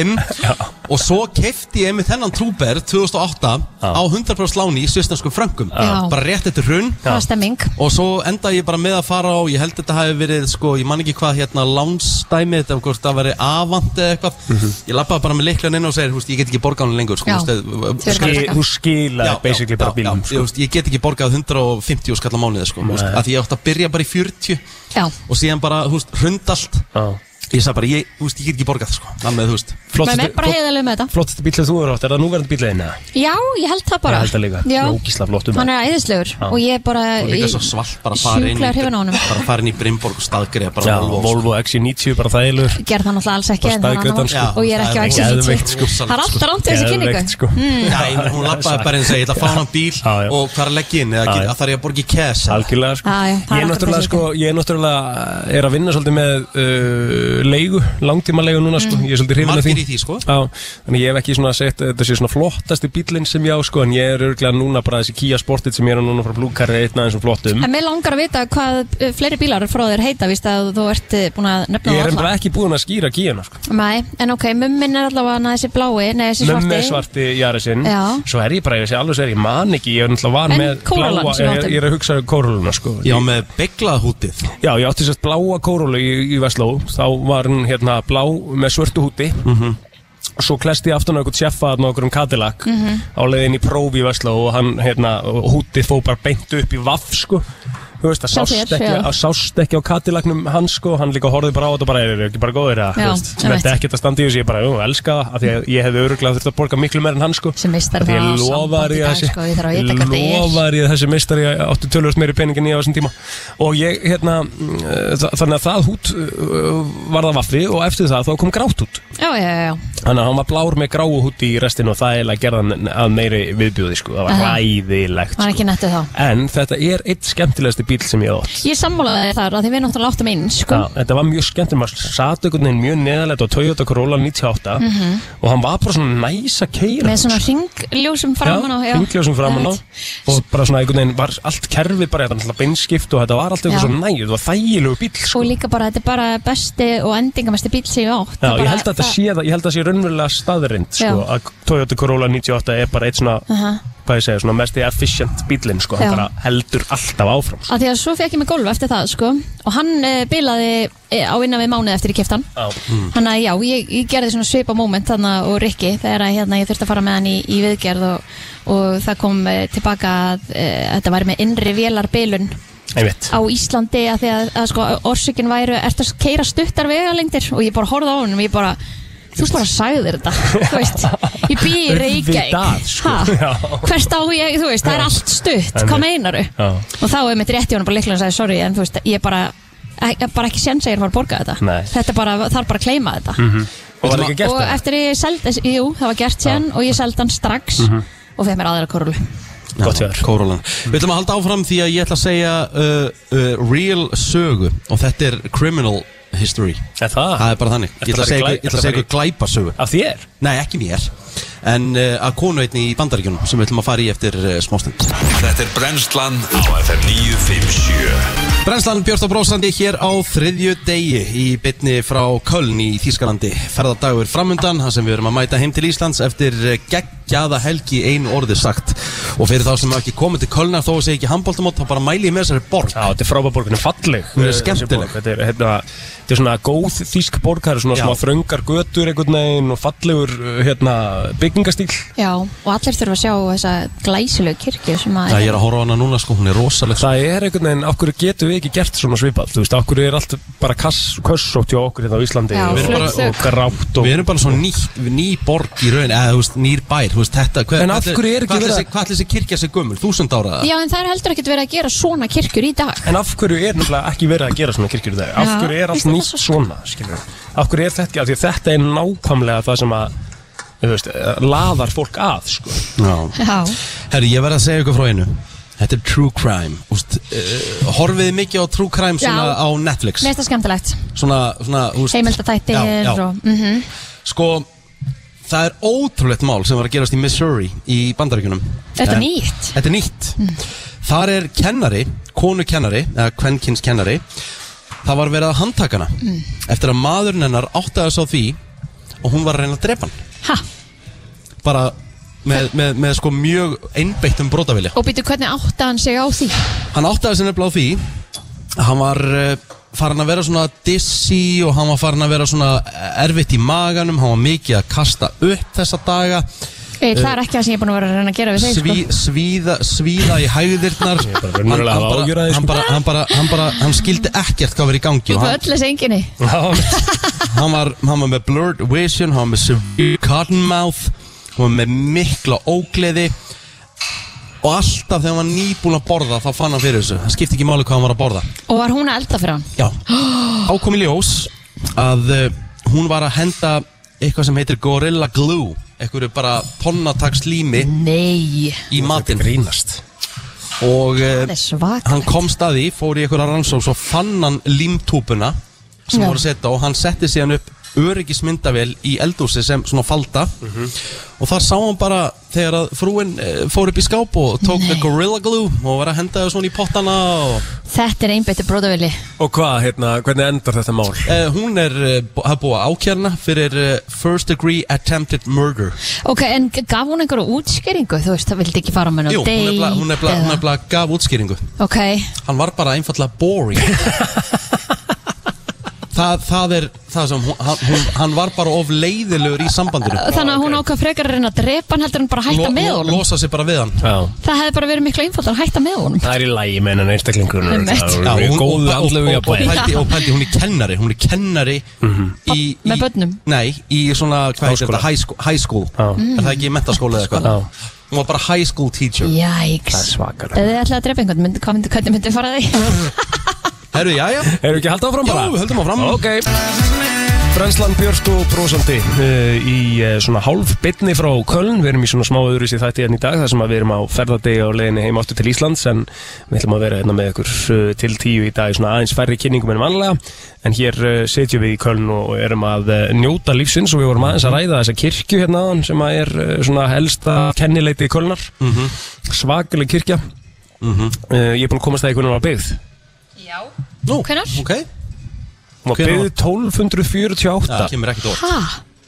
Speaker 2: 2005 og svo kefti ég með þennan trúber 2008
Speaker 3: Já.
Speaker 2: á 100% láni í svistanskum fröngum
Speaker 4: Já.
Speaker 2: bara rétt eftir hrun
Speaker 4: Það var stemming.
Speaker 2: og svo endaði ég bara með að fara á ég held þetta hafi verið, sko, ég man ekki hvað hérna lánstæmi, þetta hvort það verið avant eða eitthvað,
Speaker 3: Mhm.
Speaker 2: ég lappaði bara með leiklan inn og segir, húst, ég get ekki borgað hann lengur sko,
Speaker 4: Já.
Speaker 2: þú veist,
Speaker 4: Þau eru
Speaker 2: skil-
Speaker 4: bara-
Speaker 3: Ski, þú skilaði basically bara bílum
Speaker 2: já, ég,
Speaker 3: sko.
Speaker 2: veist, ég get ekki borgað 150 skall á mánuði sko, þú veist,
Speaker 3: Nei.
Speaker 2: að því ég átti að byrja bara í 40
Speaker 4: Já.
Speaker 2: og síðan bara, húst, hrund allt
Speaker 3: Já.
Speaker 2: Ég sagði bara, ég, þú veist, ég get ekki borgað sko Þannig að þú veist
Speaker 4: Menn er bara hérna- heiðarlega með þetta.
Speaker 3: Flottasta bíl sem þú eru átt, er það núverandi bílinn?
Speaker 4: Já, ég held það bara
Speaker 3: Ég held það líka.
Speaker 4: Já.
Speaker 3: Ógeðslega flottur maður.
Speaker 4: Hann er æðislegur
Speaker 3: Já.
Speaker 4: Og ég bara
Speaker 2: Og líka svo svalt bara að fara inn í-
Speaker 4: Sjúklegar hefur á honum
Speaker 2: Bara fara inn í Brimborg og staðgriða bara
Speaker 3: Já,
Speaker 2: Volvo, sko.
Speaker 3: Volvo XC90, bara þægilegur
Speaker 4: Gerð það náttúrulega alls ekki
Speaker 3: Bara
Speaker 4: en hann
Speaker 3: staðgreidd hann,
Speaker 4: var-
Speaker 2: sko.
Speaker 4: Og ég er ekki á
Speaker 2: Já,
Speaker 4: exit
Speaker 3: geðveikt, sko.
Speaker 4: Það er alltaf rámt í þessu
Speaker 3: Geðveikt,
Speaker 4: kynningu Hmm.
Speaker 3: sko.
Speaker 2: Nei, hún lappaði bara eins og Mm. ég ætla að fá hann á bíl
Speaker 3: Já, já.
Speaker 2: Og hvað er að leggja inn eða
Speaker 3: Já,
Speaker 2: ekki,
Speaker 3: já.
Speaker 2: að þarf ég að borga í cash eða?
Speaker 3: Algjörlega sko.
Speaker 4: Já, já, það er
Speaker 3: Ég er
Speaker 4: alltaf
Speaker 3: náttúrulega
Speaker 4: þessi
Speaker 3: sko, ég er náttúrulega eh, er að vinna svolítið með uh, leigu, langtíma leigu núna
Speaker 4: Mm.
Speaker 3: sko, ég er svolítið hrifin af því
Speaker 2: Margir í því, sko.
Speaker 3: Já, þannig ég hef ekki svona sett eh, þetta sé svona flottasti bílinn sem ég á sko, en ég er örglega núna bara þessi Kia Sportit sem ég er á núna frá Blúkar er einn aðeins og flottum
Speaker 4: En mér langar að vita hvað uh, fleiri bílar frá þér heita Vist að þú ert uh, búin að nefna
Speaker 3: Ég er
Speaker 4: þá alla
Speaker 3: bara ekki búinn að skýra Kíana sko.
Speaker 4: Nei, en ok, mummin er allavega hana þessi blái Nei, þessi svarti
Speaker 3: Mömmu svarti Jarisinn
Speaker 4: Já.
Speaker 3: Svo er ég bara, ég sé alveg sér, ég man ekki Ég er náttúrulega van
Speaker 4: En
Speaker 3: með
Speaker 4: kórólan sem
Speaker 3: ég,
Speaker 4: áttum.
Speaker 3: ég er að hugsa um kóróluna sko.
Speaker 2: Já, með beglað hútið
Speaker 3: Já, ég átti sérst bláa kórólu í, í Vestló Þá var hún hérna blá með svörtu húti svo klesti ég aftan á einhvern sjeffa þarna á einhverjum Cadillac
Speaker 4: Mhm.
Speaker 3: á leiðin í prófi í Vesla og hann hérna hútið fó bara beint upp í vaff sko Þú veist, það
Speaker 4: Hjá
Speaker 3: sást,
Speaker 4: þér,
Speaker 3: ekki,
Speaker 4: já.
Speaker 3: að sást ekki á katilagnum hans sko, hann líka horfði bara á þetta og bara, er þið ekki bara góðir að,
Speaker 4: Já, einmitt.
Speaker 3: þetta er ekkert að standa í þessu, ég bara, jú, elska það, af því að ég hefði öruglega þurft að borga miklu meir en hann sko.
Speaker 4: Sem meistari
Speaker 3: Af því
Speaker 4: á
Speaker 3: ég lofaði
Speaker 4: sambandi í dag,
Speaker 3: þessi,
Speaker 4: sko, ég þarf að vita hvernig ég er.
Speaker 3: lofaði ég þessi meistari að áttu tölvöld meiri pening en ég á þessum tíma og ég, hérna, mm, þa- þannig að það hút uh, var það vaffi og eftir það þá kom grátt hút,
Speaker 4: já, já, já, já.
Speaker 3: þannig að hann var blár með gráu hút í restinu og það eiginlega gerði hann að meiri viðbjóði sko, það var
Speaker 4: Aha.
Speaker 3: ræðilegt
Speaker 4: var
Speaker 3: sko.
Speaker 4: ekki nettu þá
Speaker 3: En þetta er eitt skemmtilegasti bíl sem ég hef átt
Speaker 4: Ég sammálaði þér þar að því við náttúrulega áttum eins sko.
Speaker 3: Já, þetta var mjög skemmt maður sat einhvern veginn mjög neðalegt á Toyota Corolla 98 og hann var bara svona næs að keira
Speaker 4: Mhm. með svona ringljósum framan á
Speaker 3: já, hringljósum framan á og bara svona einhvern veginn var allt kerfi bara þetta var alltaf beinskipt og þetta var allt eitthvað
Speaker 4: Já.
Speaker 3: svona næg þetta var þægilegu bíl sko.
Speaker 4: og líka bara, þetta er bara besti og endingamesti bíl sem ég átt
Speaker 3: Já, ég
Speaker 4: Það bara-
Speaker 3: held að þetta sé það, ég held að það sé raunverulega staðrind sko,
Speaker 4: Já.
Speaker 3: að Toyota Corolla 98 er bara eitt svona,
Speaker 4: Aha.
Speaker 3: hvað ég segja, svona mest efficient bílinn sko,
Speaker 4: Já.
Speaker 3: hann bara heldur alltaf áfram sko.
Speaker 4: að því að svo fekk ég mig golf eftir það sko. og hann uh, bilaði eh, á innan við mánuð eftir í keftan
Speaker 3: Já.
Speaker 4: þannig að já, ég, ég gerði svona svipa moment þannig að og Rikki þegar að, hérna, ég þurfti að fara með hann í, í viðgerð og, og það kom uh, tilbaka að uh, þetta væri með innri vélarbilun
Speaker 3: Einmitt.
Speaker 4: á Íslandi að því að, að sko, orsökin væru ertu að keira stuttar vegalengdir og ég bara horfði á honum og ég bara þú bara sagðir þetta þú veist, ég bý í Reykjavík
Speaker 3: Auðvitað, sko.
Speaker 4: Ha?
Speaker 3: Já.
Speaker 4: hvert á ég, þú veist, það er allt stutt
Speaker 3: Einmitt.
Speaker 4: hvað meinaru
Speaker 3: Já.
Speaker 4: og þá er mitt rétt í honum bara líklega að segja sorry en þú veist, ég bara ég bara ekki séns að ég er að fara að borga þetta
Speaker 3: Nei.
Speaker 4: þetta bara, þarf bara að kleima þetta
Speaker 2: Mhm.
Speaker 3: Og var ekki gert
Speaker 4: og
Speaker 3: það?
Speaker 4: eftir ég seld, jú, það var gert síðan og ég seldi hann strax
Speaker 2: Mhm.
Speaker 4: og fegð mér aðra korulu
Speaker 3: Gott hjá þér.
Speaker 2: Kórólan Við ætlum að halda áfram því að ég ætla að segja uh, uh, Real sögu Og þetta er criminal history
Speaker 3: Er það?
Speaker 2: Það er bara þannig Ég ætla að segja ykkur- ég ætla að segja ykkur glæpasögu
Speaker 3: Af þér?
Speaker 2: Nei, ekki mér En uh, að konu einni í bandaríkjunum Sem við ætlum að fara í eftir uh, smástund
Speaker 1: Þetta er brennslan á FM 957
Speaker 2: Brennslan Björnstof Brósandi hér á þriðju degi í bytni frá Köln í Þýskalandi. Ferðardagur framundan, þar sem við erum að mæta heim til Íslands eftir eh, geggjaða helgi einu orði sagt. Og fyrir þá sem hafa ekki komið til Kölnar þó að segja ekki handbóltamót, þá bara mæli ég með þessari borg.
Speaker 3: Já, þetta er frábær borg, þetta er falleg
Speaker 2: Hún er
Speaker 3: eh,
Speaker 2: skemmtileg.
Speaker 3: þessi borg. Þetta er, hérna, þetta er svona góð þýsk borg Það eru svona
Speaker 2: Já.
Speaker 3: smá þröngar götur einhvern veginn og fallegur eh, hérna, byggingastíl
Speaker 4: Já, og allir þurfa að sjá þessa glæsilegu kirkju sem að
Speaker 2: Það ég er að horfa á hana núna sko, hún er rosaleg.
Speaker 3: Það er einhvern veginn, af hverju getum við ekki gert svona svipað Þú veist, af hverju er allt bara kass, kössótt hjá okkur hérna á Íslandi
Speaker 4: Já,
Speaker 3: og,
Speaker 2: Við erum bara-
Speaker 3: og grátt og
Speaker 2: Við erum bara svo ný, ný borg í raun, eða þú veist, nýr bær, þú veist, þetta, hver,
Speaker 3: En af hverju er ekki
Speaker 2: hvað
Speaker 3: verið
Speaker 2: ætli-
Speaker 3: að-
Speaker 2: Hvað ætlir þessi kirkja sér gömul, þúsund ára?
Speaker 4: Já, en það er heldur ekkert verið að gera svona kirkjur í dag
Speaker 3: En af hverju er nefnilega ekki verið að gera svona kirkjur í dag? Af
Speaker 4: Já,
Speaker 3: hverju er allt
Speaker 4: finnst þér
Speaker 3: nýtt
Speaker 4: það
Speaker 3: svona, skilur við? Af hverju er þetta, af því að þetta er nákvæmlega það sem að, þú veist, eh, laðar fólk að, sko
Speaker 2: Já.
Speaker 4: Já,
Speaker 2: Herri, ég verð að segja ykkur frá einu Þetta er True Crime Úst, uh, Horfið þið mikið á True Crime svona
Speaker 4: Já.
Speaker 2: á Netflix
Speaker 4: mér finnst það skemmtilegt
Speaker 2: Svona, svona úst,
Speaker 4: Heimildatættir
Speaker 2: já, já.
Speaker 4: og mm
Speaker 2: Sko, það er ótrúlegt mál sem var að gerast í Missouri í Bandaríkunum
Speaker 4: Þetta er
Speaker 2: En-
Speaker 4: nýtt Mm.
Speaker 2: Þetta er nýtt Þar er kennari, konu kennari eða kvenkins kennari Það var verið að handtaka hana
Speaker 4: Mm.
Speaker 2: Eftir að maðurinn hennar áttaði svo því og hún var að reyna að drepa hann
Speaker 4: Ha,
Speaker 2: bara með, með, með sko mjög einbeittum brotavilja
Speaker 4: og býtu hvernig átta hann sig á því
Speaker 2: Hann áttaði sér nefnilega á því að Hann var uh, farin að vera svona dissi og hann var farin að vera svona eh, erfitt í maganum Hann var mikið að kasta upp þessa daga
Speaker 4: Eil, Það er
Speaker 2: Eh,
Speaker 4: ekki það sem ég er búin að vera að reyna að gera við þeir
Speaker 2: sví,
Speaker 4: sko.
Speaker 2: svíða, svíða í hægðirnar
Speaker 3: Ég er bara raunverulega að hafa áhyggjur af því,
Speaker 2: hann,
Speaker 3: sko.
Speaker 2: bara, hann, bara, hann bara Hann skildi ekkert hvað verið í gangi
Speaker 4: Þú
Speaker 2: og
Speaker 4: var
Speaker 2: hann,
Speaker 4: öll þessi enginni
Speaker 3: Já,
Speaker 2: hann, var, hann var með blurred vision, hann var með severe cotton mouth Hann var með mikla ógleði Og alltaf þegar hann var nýbúin að borða þá fann hann fyrir þessu Það skipti ekki máli hvað hann var að borða
Speaker 4: Og var hún að elda fyrir hann
Speaker 2: Já, þá kom í ljós að uh, hún var að henda eitthvað sem heitir Gorilla Glue eitthvað bara ponnatags lími
Speaker 4: Nei
Speaker 2: í matinn
Speaker 3: grínast
Speaker 2: og
Speaker 4: Það
Speaker 2: uh,
Speaker 4: er svak
Speaker 2: hann kom staði, fór í eitthvað rannsóks og fann hann límtúpuna sem
Speaker 4: Já.
Speaker 2: voru að setja og hann setti síðan upp öryggismyndavél í eldhúsi sem svona falda og þar sá hann bara þegar að frúin uh, fór upp í skáp og tók með Gorilla Glue og var að henda það svona í pottana og
Speaker 4: Þetta er einbyttu bróðavili
Speaker 3: Og hvað, hérna, hvernig endar þetta mál?
Speaker 2: Uh, hún er uh, að búa ákjærna fyrir uh, first degree attempted murder
Speaker 4: Ok, en gaf hún einhverju útskýringu? Þú veist, það vildi ekki fara með hann á
Speaker 2: Jú, hún er bla,
Speaker 4: date
Speaker 2: hún er bla,
Speaker 4: eða-
Speaker 2: hún er bla gaf útskýringu
Speaker 4: Ok,
Speaker 2: Hann var bara einfallega boring það, það er það sem hún, hann- hún, hann var bara of leiðilegur í sambandinu
Speaker 4: Þannig að hún
Speaker 3: ok.
Speaker 4: ákvað frekar að reyna að drepa hann heldur en bara að hætta
Speaker 2: Lo-
Speaker 4: með
Speaker 2: lo-
Speaker 4: honum
Speaker 2: losa sig bara við hann
Speaker 3: Já,
Speaker 4: Það hefði bara verið miklu einfaldar að hætta með honum
Speaker 3: það er í lægi með hennan einstaklingur
Speaker 4: Einmitt.
Speaker 2: Já, hún-
Speaker 3: Góðu
Speaker 2: og- og-
Speaker 3: andlegu
Speaker 2: og- og
Speaker 3: jafnvægi Mhm.
Speaker 2: pældi- og pældi, hún er kennari hún er kennari í, í,
Speaker 4: Með börnum?
Speaker 2: nei, í svona, hvað heitir
Speaker 3: Háskóla.
Speaker 2: þetta, high school, high school.
Speaker 3: Já.
Speaker 2: er það ekki mentaskóla eða
Speaker 3: Já.
Speaker 2: eitthvað hún var bara high school teacher
Speaker 4: Jæks
Speaker 3: Það er svakalegt.
Speaker 4: Ef þið ætlaði að drepa einhvern, mynd, hvað myndi, hvernig myndi fara því?
Speaker 2: herru, já, já,
Speaker 3: Erum við ekki að halda áfram bara?
Speaker 2: Jú, við höldum áfram.
Speaker 3: Ok Frenslan Björst og Brósandi uh, í uh, svona hálf bitni frá Köln við erum í svona smá öðruvísi þætti hérna í dag þar sem að við erum á ferðardegi og leiðinni heim áttu til Íslands en við ætlum að vera hérna með ykkur uh, til tíu í dag í svona aðeins færri kynningum en vanlega en hér uh, setjum við í Köln og erum að uh, njóta lífsins og við vorum aðeins að ræða þessa kirkju hérna áðan sem að er uh, svona helsta kennileiti í Kölnar mm
Speaker 2: Mhm.
Speaker 3: svakaleg kirkja uh, ég er búin að komast að einhvern veginn var byggð
Speaker 4: Já
Speaker 2: nú,
Speaker 4: Hvenær?
Speaker 2: ok,
Speaker 3: Hún var
Speaker 2: Hvenær
Speaker 3: byggð 1248
Speaker 2: það kemur ekkert orð
Speaker 4: Ha?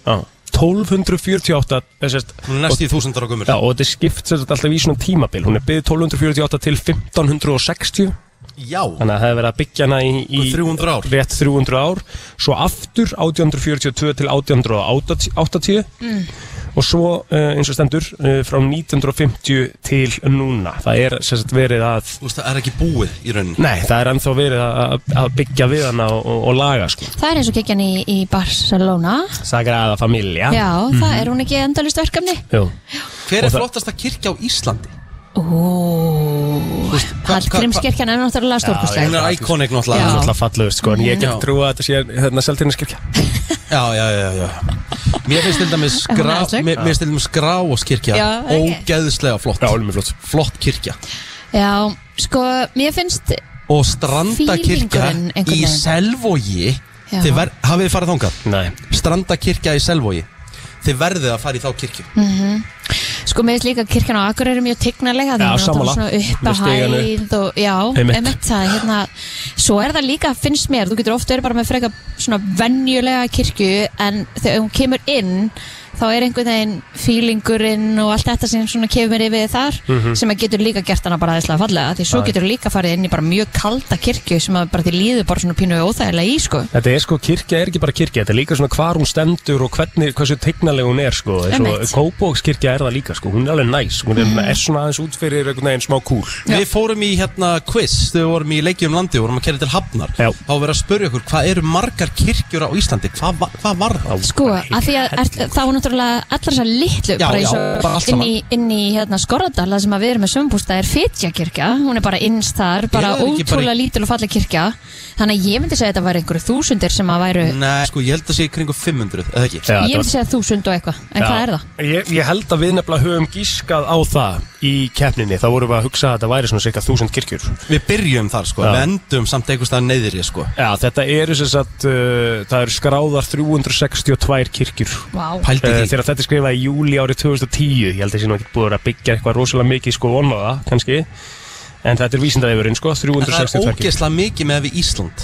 Speaker 3: Já, 1248 eh, sérst,
Speaker 2: hún er
Speaker 3: og,
Speaker 2: næst í þúsundar á gömur
Speaker 3: já, og þetta er skipt sérst, alltaf í svona tímabil hún er byggð 1248 til 1560
Speaker 2: já,
Speaker 3: þannig að það hefur verið að byggja hana í, í
Speaker 2: 300 ár.
Speaker 3: rétt 300 ár svo aftur 1842 til 1880 og svo eh, eins og stendur eh, frá 1950 til núna það er sérst, verið að
Speaker 2: þú veist, það er ekki búið í rauninni
Speaker 3: Nei, það er ennþá verið að, að byggja við hana og, og, og laga sko.
Speaker 4: Það er eins og kekjan í, í Barcelona
Speaker 3: Sagrada Familia
Speaker 4: Já,
Speaker 2: Mhm.
Speaker 4: það er hún ekki endalist verkefni
Speaker 3: Jú.
Speaker 2: hver
Speaker 3: Og
Speaker 2: er
Speaker 3: það-
Speaker 2: flottasta kirkja á Íslandi?
Speaker 4: Ó
Speaker 2: hva-
Speaker 4: Hallgrímskirkjan er náttúrulega
Speaker 2: hún
Speaker 4: stórkostleg
Speaker 2: er íkónik
Speaker 4: Já.
Speaker 2: náttúrulega
Speaker 3: alltaf fallegust sko, en ég get
Speaker 2: Já.
Speaker 3: trú að þetta sé hérna seltinniskirkja
Speaker 2: já, já, já, já mér finnst til dæmis
Speaker 4: Hún er
Speaker 2: skrá
Speaker 4: alls ekki.
Speaker 2: mér, mér finnst til dæmis skrá og kirkja
Speaker 4: Já, ok.
Speaker 2: ógeðslega flott
Speaker 3: Já, hún er mjög flott.
Speaker 2: flott kirkja
Speaker 4: Já, sko, mér finnst
Speaker 2: og strandakirkja
Speaker 4: Fílingurinn einhvern
Speaker 2: í
Speaker 4: veginn.
Speaker 2: Selvogi
Speaker 4: Já.
Speaker 2: Þið ver- hafið þið farið þangað
Speaker 3: Nei,
Speaker 2: strandakirkja í Selvogi þið verðið að fara í þá kirkju
Speaker 4: Sko, mér finnst líka kirkjan á Akureyri mjög tignalega
Speaker 3: Já, sammála.
Speaker 4: Svona upp
Speaker 3: Með
Speaker 4: að
Speaker 3: stiganu.
Speaker 4: hæð og, Já,
Speaker 3: Einmitt.
Speaker 4: emitt það hérna, Svo er það líka, finnst mér Þú getur ofta verið bara með freka svona venjulega kirkju En þegar hún kemur inn Þá er einhvern veginn fílingurinn og allt þetta sem svona kemur yfir þar
Speaker 3: Mhm.
Speaker 4: sem að getur líka gert hana bara aðeinslega fallega því svo getur líka farið inn í bara mjög kalda kirkju sem að bara því líður bara svona pínu óþægilega í sko.
Speaker 3: þetta er sko, kirkja er ekki bara kirkja þetta er líka svona hvar hún stendur og hvernig, hversu teiknaleg hún er sko, eins og
Speaker 4: Einmitt. Mm.
Speaker 3: Kópókskirkja er það líka sko, hún er alveg næs hún er, er svona aðeins út fyrir einhvern veginn smá kúl
Speaker 2: við fórum í hérna quiz þegar við vorum í leikjum landi og vorum að kerja til Hafnar
Speaker 3: Já.
Speaker 2: þá var verið að spyrja okkur hvað eru margar kirkjur á Íslandi hvað, va- hvað var það?
Speaker 4: Sko, að því að er, þá er náttúrulega allar þessar litlu
Speaker 2: Já,
Speaker 4: bara,
Speaker 2: já,
Speaker 4: eins og
Speaker 2: bara allt
Speaker 4: inn í, inn í hérna, Skorradal það sem að við erum með sömbústa er Fitjakirkja hún er bara innst þar, bara
Speaker 2: Er það ekki bara
Speaker 4: ótrúlega
Speaker 2: í-
Speaker 4: lítil og falleg kirkja þannig að ég myndi segja að þetta væri einhverju þúsundir sem að
Speaker 3: Eh.
Speaker 4: væru
Speaker 2: Nei, sko ég held að sé í kringum 500 eða ekki
Speaker 3: Já,
Speaker 4: ég
Speaker 3: þetta var-
Speaker 4: myndi segja þúsund og eitthvað en hvað er það?
Speaker 3: Ég, ég held að við nefnilega höfum gískað á það í keppninni, þá vorum við að hugsa að þetta væri svona cirka þúsund kirkjur
Speaker 2: Við byrjum þar sko,
Speaker 3: Já.
Speaker 2: við endum samt einhvers staðar neyðri sko
Speaker 3: Já, þetta eru sem sagt, uh, það eru skráðar 362 kirkjur
Speaker 4: Vá,
Speaker 2: Pældi
Speaker 3: Eh,
Speaker 2: því
Speaker 3: Þegar þetta er skrifað í júli árið 2010 Ég held að þessi nú ekki búið að vera að byggja eitthvað rosalega mikið sko vonmaða, kannski En þetta er vísindavefurinn sko,
Speaker 2: En Það er
Speaker 3: 362 kirkjur.
Speaker 2: ógeðslega mikið með við Ísland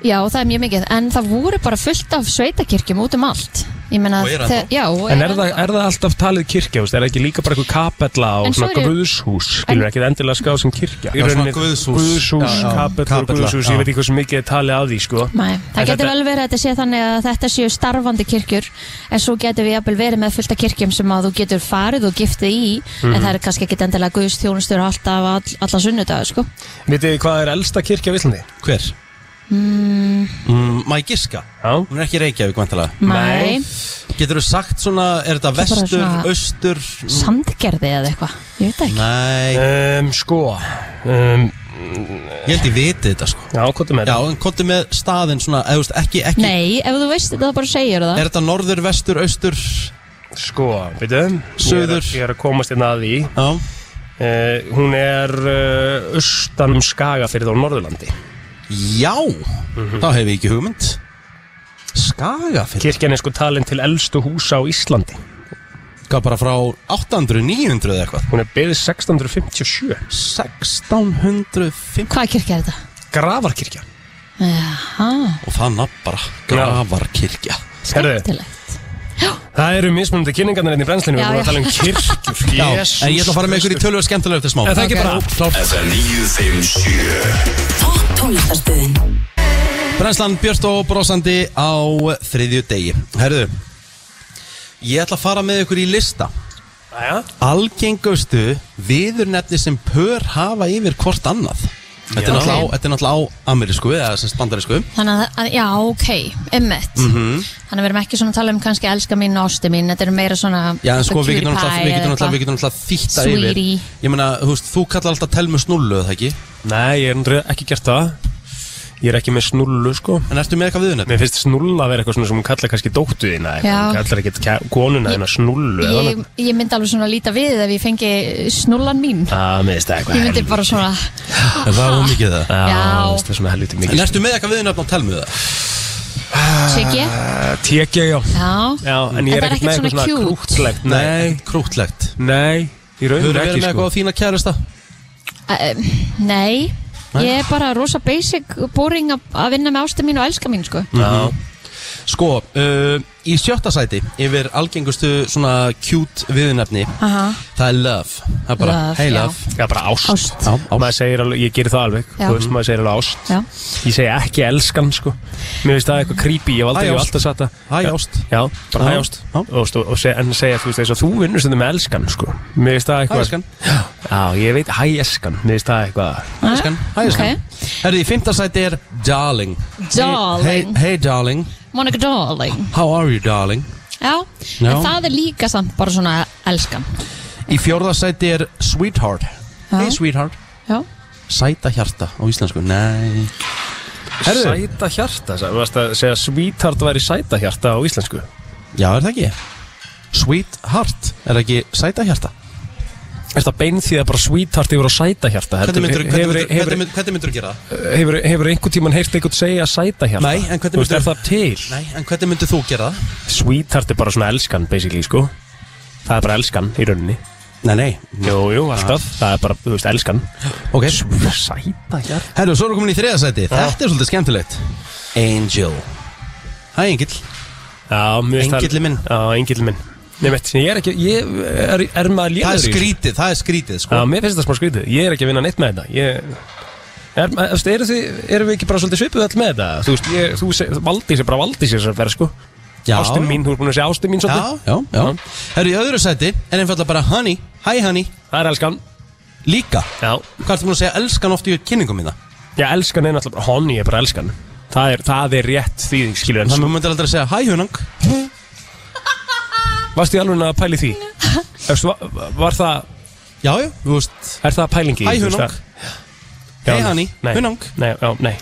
Speaker 4: já það er mjög mikið en það voru bara fullt af sveitakirkjum út um allt ég meina,
Speaker 2: Og er
Speaker 4: þe-
Speaker 2: ennþá.
Speaker 4: já, og
Speaker 3: En er það,
Speaker 4: ennþá.
Speaker 3: er það alltaf talið kirkja, þú veist, er það ekki líka bara eitthvað kapella
Speaker 4: En
Speaker 3: og svona
Speaker 4: svo eru-
Speaker 3: guðshús, skilur ekki það endilega skráð sem kirkja Í
Speaker 2: svona
Speaker 3: rauninni-
Speaker 2: guðshús. Já,
Speaker 3: Guðshús,
Speaker 2: já.
Speaker 3: kapella og
Speaker 2: Kapella,
Speaker 3: guðshús,
Speaker 2: já.
Speaker 3: ég veit ekki hversu mikið er talið að því sko
Speaker 4: Nei,
Speaker 3: En
Speaker 4: það getur
Speaker 3: þetta-
Speaker 4: vel verið að þetta sé þannig að þetta séu starfandi kirkjur en svo getur við jafnvel verið með fullta kirkjum sem að þú getur farið og giftið í en
Speaker 2: Mhm.
Speaker 4: það er kannski ekki endilega guðstjónustur alltaf all, alla sunnudag sko.
Speaker 3: Vitið þið hvað er elsta kirkja á Íslandi?
Speaker 2: Hver? Mm, Má ég giska?
Speaker 3: Já,
Speaker 2: Hún er ekki í Reykjavík vantilega
Speaker 3: Nei.
Speaker 4: Mæ,
Speaker 2: Getur þú sagt svona, er þetta
Speaker 4: Það er bara
Speaker 2: vestur,
Speaker 4: svona-
Speaker 2: austur?
Speaker 4: sandgerði eða eitthvað ég veit það ekki
Speaker 2: Nei,
Speaker 3: um, sko um,
Speaker 2: ég held ég viti þetta sko
Speaker 3: Já, hvað er með
Speaker 2: Já,
Speaker 3: þetta?
Speaker 2: en komdu með staðinn svona, eða þú veist, ekki, ekki
Speaker 4: Nei, ef þú veist þetta þá bara segir það
Speaker 2: Er þetta norður, vestur, austur? Já,
Speaker 3: Sko, veitum
Speaker 2: Suður.
Speaker 3: Ég er að komast inn að því Uh, hún er uh, austan um Skagafyrð á Norðurlandi
Speaker 2: já, þá hef ég ekki hugmynd Skagafyrð
Speaker 3: Kirkjan er sko talin til elstu húsa á Íslandi
Speaker 2: Hvað bara frá 800, 900 eða eitthvað
Speaker 3: Hún er byggð 1657
Speaker 2: 1650
Speaker 4: Hvaða kirkja er þetta?
Speaker 3: Grafarkirkja
Speaker 4: Jaha,
Speaker 2: Og það nafn bara, grafarkirkja
Speaker 3: Herðu,
Speaker 4: skemmtilegt
Speaker 3: það eru mismunandi kynningarnir enn í brennslinu
Speaker 4: Já,
Speaker 3: Við erum að
Speaker 4: já.
Speaker 3: tala um kirkjur
Speaker 2: Já,
Speaker 3: Jesús
Speaker 2: en ég ætla að fara með ykkur í
Speaker 3: Kristur.
Speaker 2: tölvöð skemmtilega eftir smá
Speaker 3: En það ekki
Speaker 4: Ok.
Speaker 3: bara
Speaker 2: Klárt.
Speaker 6: FM 957
Speaker 7: Topp tónlistarstöðin
Speaker 2: Brennslan Björst og brosandi á þriðju degi Herðu Ég ætla að fara með ykkur í lista
Speaker 3: Jæja.
Speaker 2: Algengustu viðurnefni sem pör hafa yfir hvort annað Þetta er
Speaker 3: Já.
Speaker 2: náttúrulega á- þetta er náttúrulega á amerísku eða sem spandarísku
Speaker 4: Þannig að- að, já, ok, emmett
Speaker 2: Mhm.
Speaker 4: Þannig að við erum ekki svona að tala um kannski elska mín og ásti mín, þetta eru meira svona
Speaker 2: Já, en sko,
Speaker 4: the
Speaker 2: við getum
Speaker 4: cutie
Speaker 2: náttúrulega,
Speaker 4: pie
Speaker 2: við getum
Speaker 4: eða
Speaker 2: náttúrulega, við
Speaker 4: eitthvað.
Speaker 2: getum náttúrulega þýtta yfir
Speaker 4: Sweetie.
Speaker 2: Ég meina, þú veist, þú kallar alltaf telmu snullu, eða ekki?
Speaker 3: Nei, ég er ekki gert það Ég er ekki með snullu sko
Speaker 2: En ertu með eitthvað viðurnefni?
Speaker 3: Mér finnst snulla að vera eitthvað svona sem hún kallar kannski dóttu þína eða
Speaker 4: Já.
Speaker 3: Hún kallar ekkit kæ- konuna þína snullu eða
Speaker 4: ég,
Speaker 3: annað.
Speaker 4: ég myndi alveg svona líta við ef ég fengi snullan mín
Speaker 3: Ah, Það með þetta eitthvað
Speaker 4: Ég myndi bara svona
Speaker 2: En það var mikið það
Speaker 3: Já,
Speaker 4: Já.
Speaker 3: mér finnst það svona helviti
Speaker 2: En
Speaker 3: mikið
Speaker 2: ertu með eitthvað viðurnefni á telmu það?
Speaker 4: Siggi,
Speaker 3: Tekja, já
Speaker 4: já
Speaker 3: Já, en ég
Speaker 4: En það
Speaker 3: er ekkert með
Speaker 4: er ekkert
Speaker 3: eitthvað
Speaker 4: svona
Speaker 3: svona
Speaker 4: cute.
Speaker 3: krútlegt
Speaker 2: Nei, krútlegt
Speaker 3: Nei, í
Speaker 2: Hefur
Speaker 3: raunum
Speaker 2: verið með
Speaker 3: ekki sko
Speaker 2: eitthvað á þína kærasta?
Speaker 4: Æ, um, Nei Ég er bara rosa basic boring að- að vinna með ástu mín og elska mín sko
Speaker 3: Já,
Speaker 2: Mhm. Sko, uh, í sjötta sæti yfir algengustu svona cute viðurnefni
Speaker 4: Aha.
Speaker 2: Það er love Það er bara,
Speaker 4: Love,
Speaker 2: hey
Speaker 4: já.
Speaker 2: love
Speaker 3: Já, bara ást,
Speaker 4: Ást.
Speaker 2: Já, ást.
Speaker 3: Maður segir alveg, ég gerir það alveg
Speaker 4: Já.
Speaker 3: Þú veist, maður segir alveg ást
Speaker 4: Já.
Speaker 3: Ég segi ekki elskan, sko Mér finnst það eitthvað creepy, ég hef
Speaker 2: Hæ,
Speaker 3: aldrei, ég hef
Speaker 2: ást.
Speaker 3: alltaf sagt það
Speaker 2: Hæ,
Speaker 3: Já.
Speaker 2: ást.
Speaker 3: Já, bara
Speaker 2: Já.
Speaker 3: hæ ást
Speaker 2: Já.
Speaker 3: Og, og, og seg, en segja, þú veist, þess að þú vinnur stundum með elskan, sko Mér finnst það eitthvað
Speaker 2: Hæ, elskan.
Speaker 3: Já, ég veit, hæ elskan, mér finnst það eitthvað
Speaker 2: Hæ, elskan, hæ, elskan
Speaker 4: ok.
Speaker 2: Herði, í fymta sæti er darling Hey,
Speaker 4: Darling,
Speaker 2: hey darling,
Speaker 4: Monica darling
Speaker 2: how are you darling
Speaker 4: Já,
Speaker 2: Já.
Speaker 4: en það er líka samt bara svona elskan
Speaker 2: Í fjórða sæti er sweetheart
Speaker 4: Já.
Speaker 2: Hey sweetheart
Speaker 4: Já,
Speaker 2: Sæta hjarta á íslensku, nei Herðu.
Speaker 3: Sæta hjarta, sagði- varst að segja sweetheart væri sæta hjarta á íslensku
Speaker 2: Já, er það ekki? Sweetheart, er það ekki sæta hjarta?
Speaker 3: Er það beinþýða bara sweetheart yfir á sæta hjarta?
Speaker 2: Hvernig myndur
Speaker 3: Hefur- hefur-
Speaker 2: þú gera það?
Speaker 3: hefur, hefur einhvern tíman heyrt einhvern segja sæta hjarta?
Speaker 2: Nei, en hvernig
Speaker 3: Þú veist,
Speaker 2: myndir-
Speaker 3: er það til?
Speaker 2: Nei, en hvernig myndur þú gera það?
Speaker 3: Sweetheart er bara svona elskan, basically, sko Það er bara elskan í rauninni
Speaker 2: Nei, nei,
Speaker 3: Jú, jú, alltaf Það er bara, þú veist, elskan
Speaker 2: ok
Speaker 3: Sæta hjarta
Speaker 2: Herru, svo erum við komin í þriðasæti Þetta er svolítið skemmtilegt Angel Hæ, Engil
Speaker 3: Já, mér finnst það-
Speaker 2: Engillinn minn.
Speaker 3: Já, engillin minn Nei, veit, ég er ekki, ég er, er maður
Speaker 2: Það er
Speaker 3: léður í þessu?
Speaker 2: skrítið, það er skrítið sko
Speaker 3: Já, mér finnst það smá skrítið Ég er ekki að vinna neitt með þetta Ég... Er, eftir, eru, þið, eru við ekki bara svolítið svipuð öll með þetta? Þú veist, ég, þú se, valdís er bara valdís þessar ferð, sko
Speaker 2: Já,
Speaker 3: Ástin mín, þú er búin að segja ástin mín
Speaker 2: Já,
Speaker 3: svolítið
Speaker 2: já, já Herru, í öðru sæti er einfallega bara Honey, hæ Honey
Speaker 3: Það er elskan
Speaker 2: Líka
Speaker 3: Já,
Speaker 2: Hvað ertu múin að segja elskan oft í kynningum mína?
Speaker 3: já elskan er náttúrulega bara honni, ég er bara elskan Það er, það er rétt þýðing, skilur en
Speaker 2: Þannig að maður myndir aldrei að segja hæ hunang
Speaker 3: Varstu í alveg að pæli því? Eftir, var, var það,
Speaker 2: Já, já, þú veist
Speaker 3: er það pælingi? í,
Speaker 2: Hæ,
Speaker 3: þú veist,
Speaker 2: hunang.
Speaker 3: það- Já,
Speaker 2: Hey honey,
Speaker 3: nei,
Speaker 2: hunang
Speaker 3: Nei, já, nei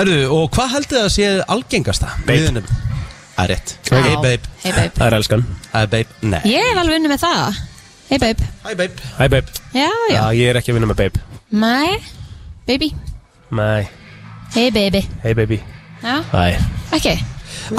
Speaker 2: Herru, og hvað heldur það að sé algengasta?
Speaker 3: Babe.
Speaker 2: Viðurnefnum? Það er rétt
Speaker 3: Já.
Speaker 2: Hey babe,
Speaker 4: hey babe
Speaker 3: Það er elskan
Speaker 2: hey babe, nei
Speaker 4: Ég hef alveg unni með það Hey babe,
Speaker 2: Hi babe
Speaker 3: Hæ, babe
Speaker 4: já, já,
Speaker 3: Já, ég er ekki að vinna með babe
Speaker 4: mæ, baby
Speaker 3: Nei,
Speaker 4: Hey baby,
Speaker 3: hey baby
Speaker 4: já,
Speaker 3: Æ,
Speaker 4: ekki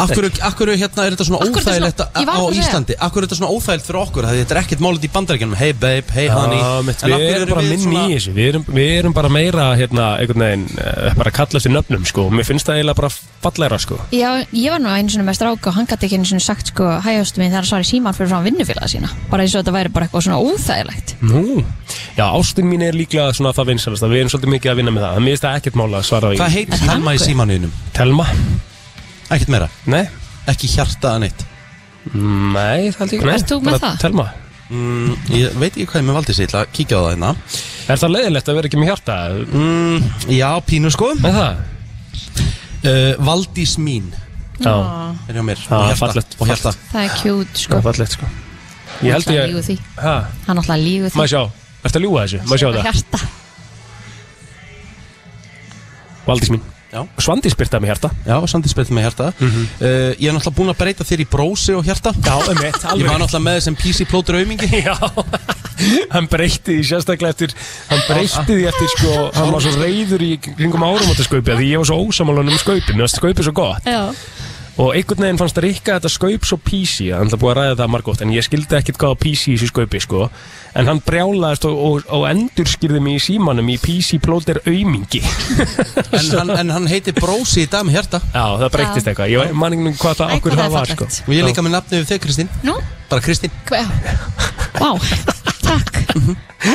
Speaker 2: Akkur, akkur hérna er þetta svona
Speaker 4: Af hverju er
Speaker 2: óþægilegt
Speaker 4: þetta svona- ég var
Speaker 2: á
Speaker 4: að segja.
Speaker 2: Íslandi Akkur er þetta svona óþægilegt fyrir okkur Þegar þetta er ekkert málið í bandarækjanum Hey babe, hey honey
Speaker 3: Já, Ah, mitt, við erum bara minni í þessu við erum, við erum bara meira hérna, einhvern veginn, uh, bara að kalla eftir nöfnum sko. mér finnst það eiginlega bara fallegra sko.
Speaker 4: Já, ég var nú einu svona með strák og hann gæti ekki einu svona sagt sko hægjastu mín þegar hann svarði síman fyrir frá vinnufélaga sína bara eins og þetta væri bara eitthvað svona óþægilegt
Speaker 3: Nú, já, ástin mín er líklega svona það vinsalasta, við erum svolítið mikið að vinna með það mér finnst það ekkert mála að svara í
Speaker 2: Hvað heitir Telma í símanuðinum?
Speaker 3: Telma?
Speaker 2: Ekkert meira,
Speaker 3: Nei,
Speaker 2: ekki hjarta að neitt
Speaker 3: nei, það held ég
Speaker 4: Ert þú
Speaker 3: Nei,
Speaker 4: með
Speaker 3: bara
Speaker 4: það?
Speaker 3: Telma
Speaker 2: mm, Ég veit ekki hvað ég með valdi sér Ég ætla að kíkja á það hérna
Speaker 3: Er það leiðilegt að vera ekki með hjarta?
Speaker 2: mm, Já, pínu sko uh,
Speaker 3: Með það?
Speaker 2: Eh, Valdís mín
Speaker 3: Já,
Speaker 2: er hjá mér
Speaker 3: Já,
Speaker 2: og hjarta,
Speaker 3: fallegt,
Speaker 2: og hjarta.
Speaker 4: Það er cute
Speaker 3: það
Speaker 4: sko
Speaker 3: er fallegt sko Ég held
Speaker 4: Hann
Speaker 3: ég
Speaker 4: alltaf lígur því.
Speaker 3: Ha,
Speaker 4: Hann alltaf lígu því
Speaker 3: maður sjá, ertu að ljúga þessu? Maður sjá það,
Speaker 4: Hjarta
Speaker 3: Valdís mín
Speaker 2: Já,
Speaker 3: Svandi spyrtaði með hjarta
Speaker 2: já Sandi spilt með hjarta uh, Ég er náttúrulega búin að breyta þér í brósi og hjarta
Speaker 3: Já, um eitt,
Speaker 2: Ég var náttúrulega með þessum PC plótur aumingi
Speaker 3: Já, hann breytti því sérstaklega eftir hann breytti því eftir sko hann var svo reyður í kringum árum átta skaupi því ég var svo ósamálan um skaupin og skaupið svo gott
Speaker 4: Já
Speaker 3: og einhvern veginn fannst að rikka þetta skaup svo písi hann það búið að ræða það margótt en ég skildi ekkit hvað písi í þessu skaupi sko en hann brjálaðist og, og, og endurskýrði mig í símanum í písi plóter aumingi
Speaker 2: en, hann, en hann heitir brósi í dag með hjarta
Speaker 3: Já, það breyttist
Speaker 4: Já.
Speaker 3: eitthvað ég var manningin hvað það
Speaker 4: Æ,
Speaker 3: okkur
Speaker 4: hvað
Speaker 3: það
Speaker 4: það er
Speaker 3: var sko
Speaker 4: fallegt.
Speaker 2: Og ég er líka með nafni við þig Kristín
Speaker 4: Nú,
Speaker 2: Bara Kristín
Speaker 4: hvað Vá, takk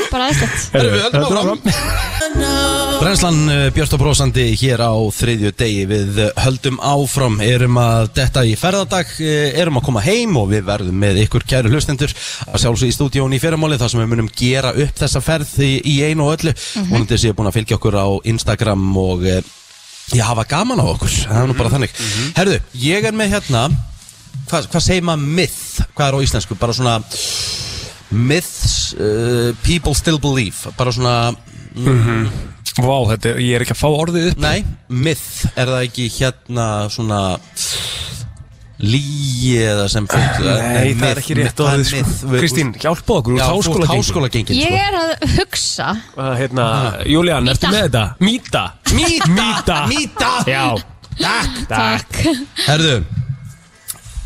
Speaker 4: Bara aðstætt
Speaker 3: Mhm.
Speaker 2: Herru, við höldum
Speaker 3: Þetta er
Speaker 2: áfram.
Speaker 3: áfram.
Speaker 2: Brennslan eh, Björt og Brósandi hér á þriðju degi við eh, höldum áfram, erum að detta í ferðardag, eh, erum að koma heim og við verðum með ykkur kæru hlustendur að sjálfsög í stúdíón í fyrramáli þar sem við munum gera upp þessa ferð í, í einu og öllu vonandi séu búin að fylgja okkur á Instagram og eh, já, hafa gaman á okkur, það er nú bara þannig Herðu, ég er með hérna hvað, hvað segir maður myth, hvað er á íslensku bara svona myths uh, people still believe bara svona
Speaker 3: Vá, þetta er, ég er ekki að fá orðið upp
Speaker 2: Nei, myth, er það ekki hérna svona líi eða sem fólk
Speaker 3: Nei, það er ekki rétt orðið sko. Kristín, hjálpa okkur úr
Speaker 2: já, fólk
Speaker 3: háskóla
Speaker 2: háskóla gengin
Speaker 4: Ég
Speaker 3: sko.
Speaker 4: er að hugsa
Speaker 3: Hérna, Julian,
Speaker 4: Mýta.
Speaker 3: ertu með þetta? Mýta
Speaker 2: Mýta,
Speaker 3: Mýta
Speaker 2: mýta
Speaker 3: Já
Speaker 2: Takk
Speaker 3: Takk
Speaker 2: Herðu,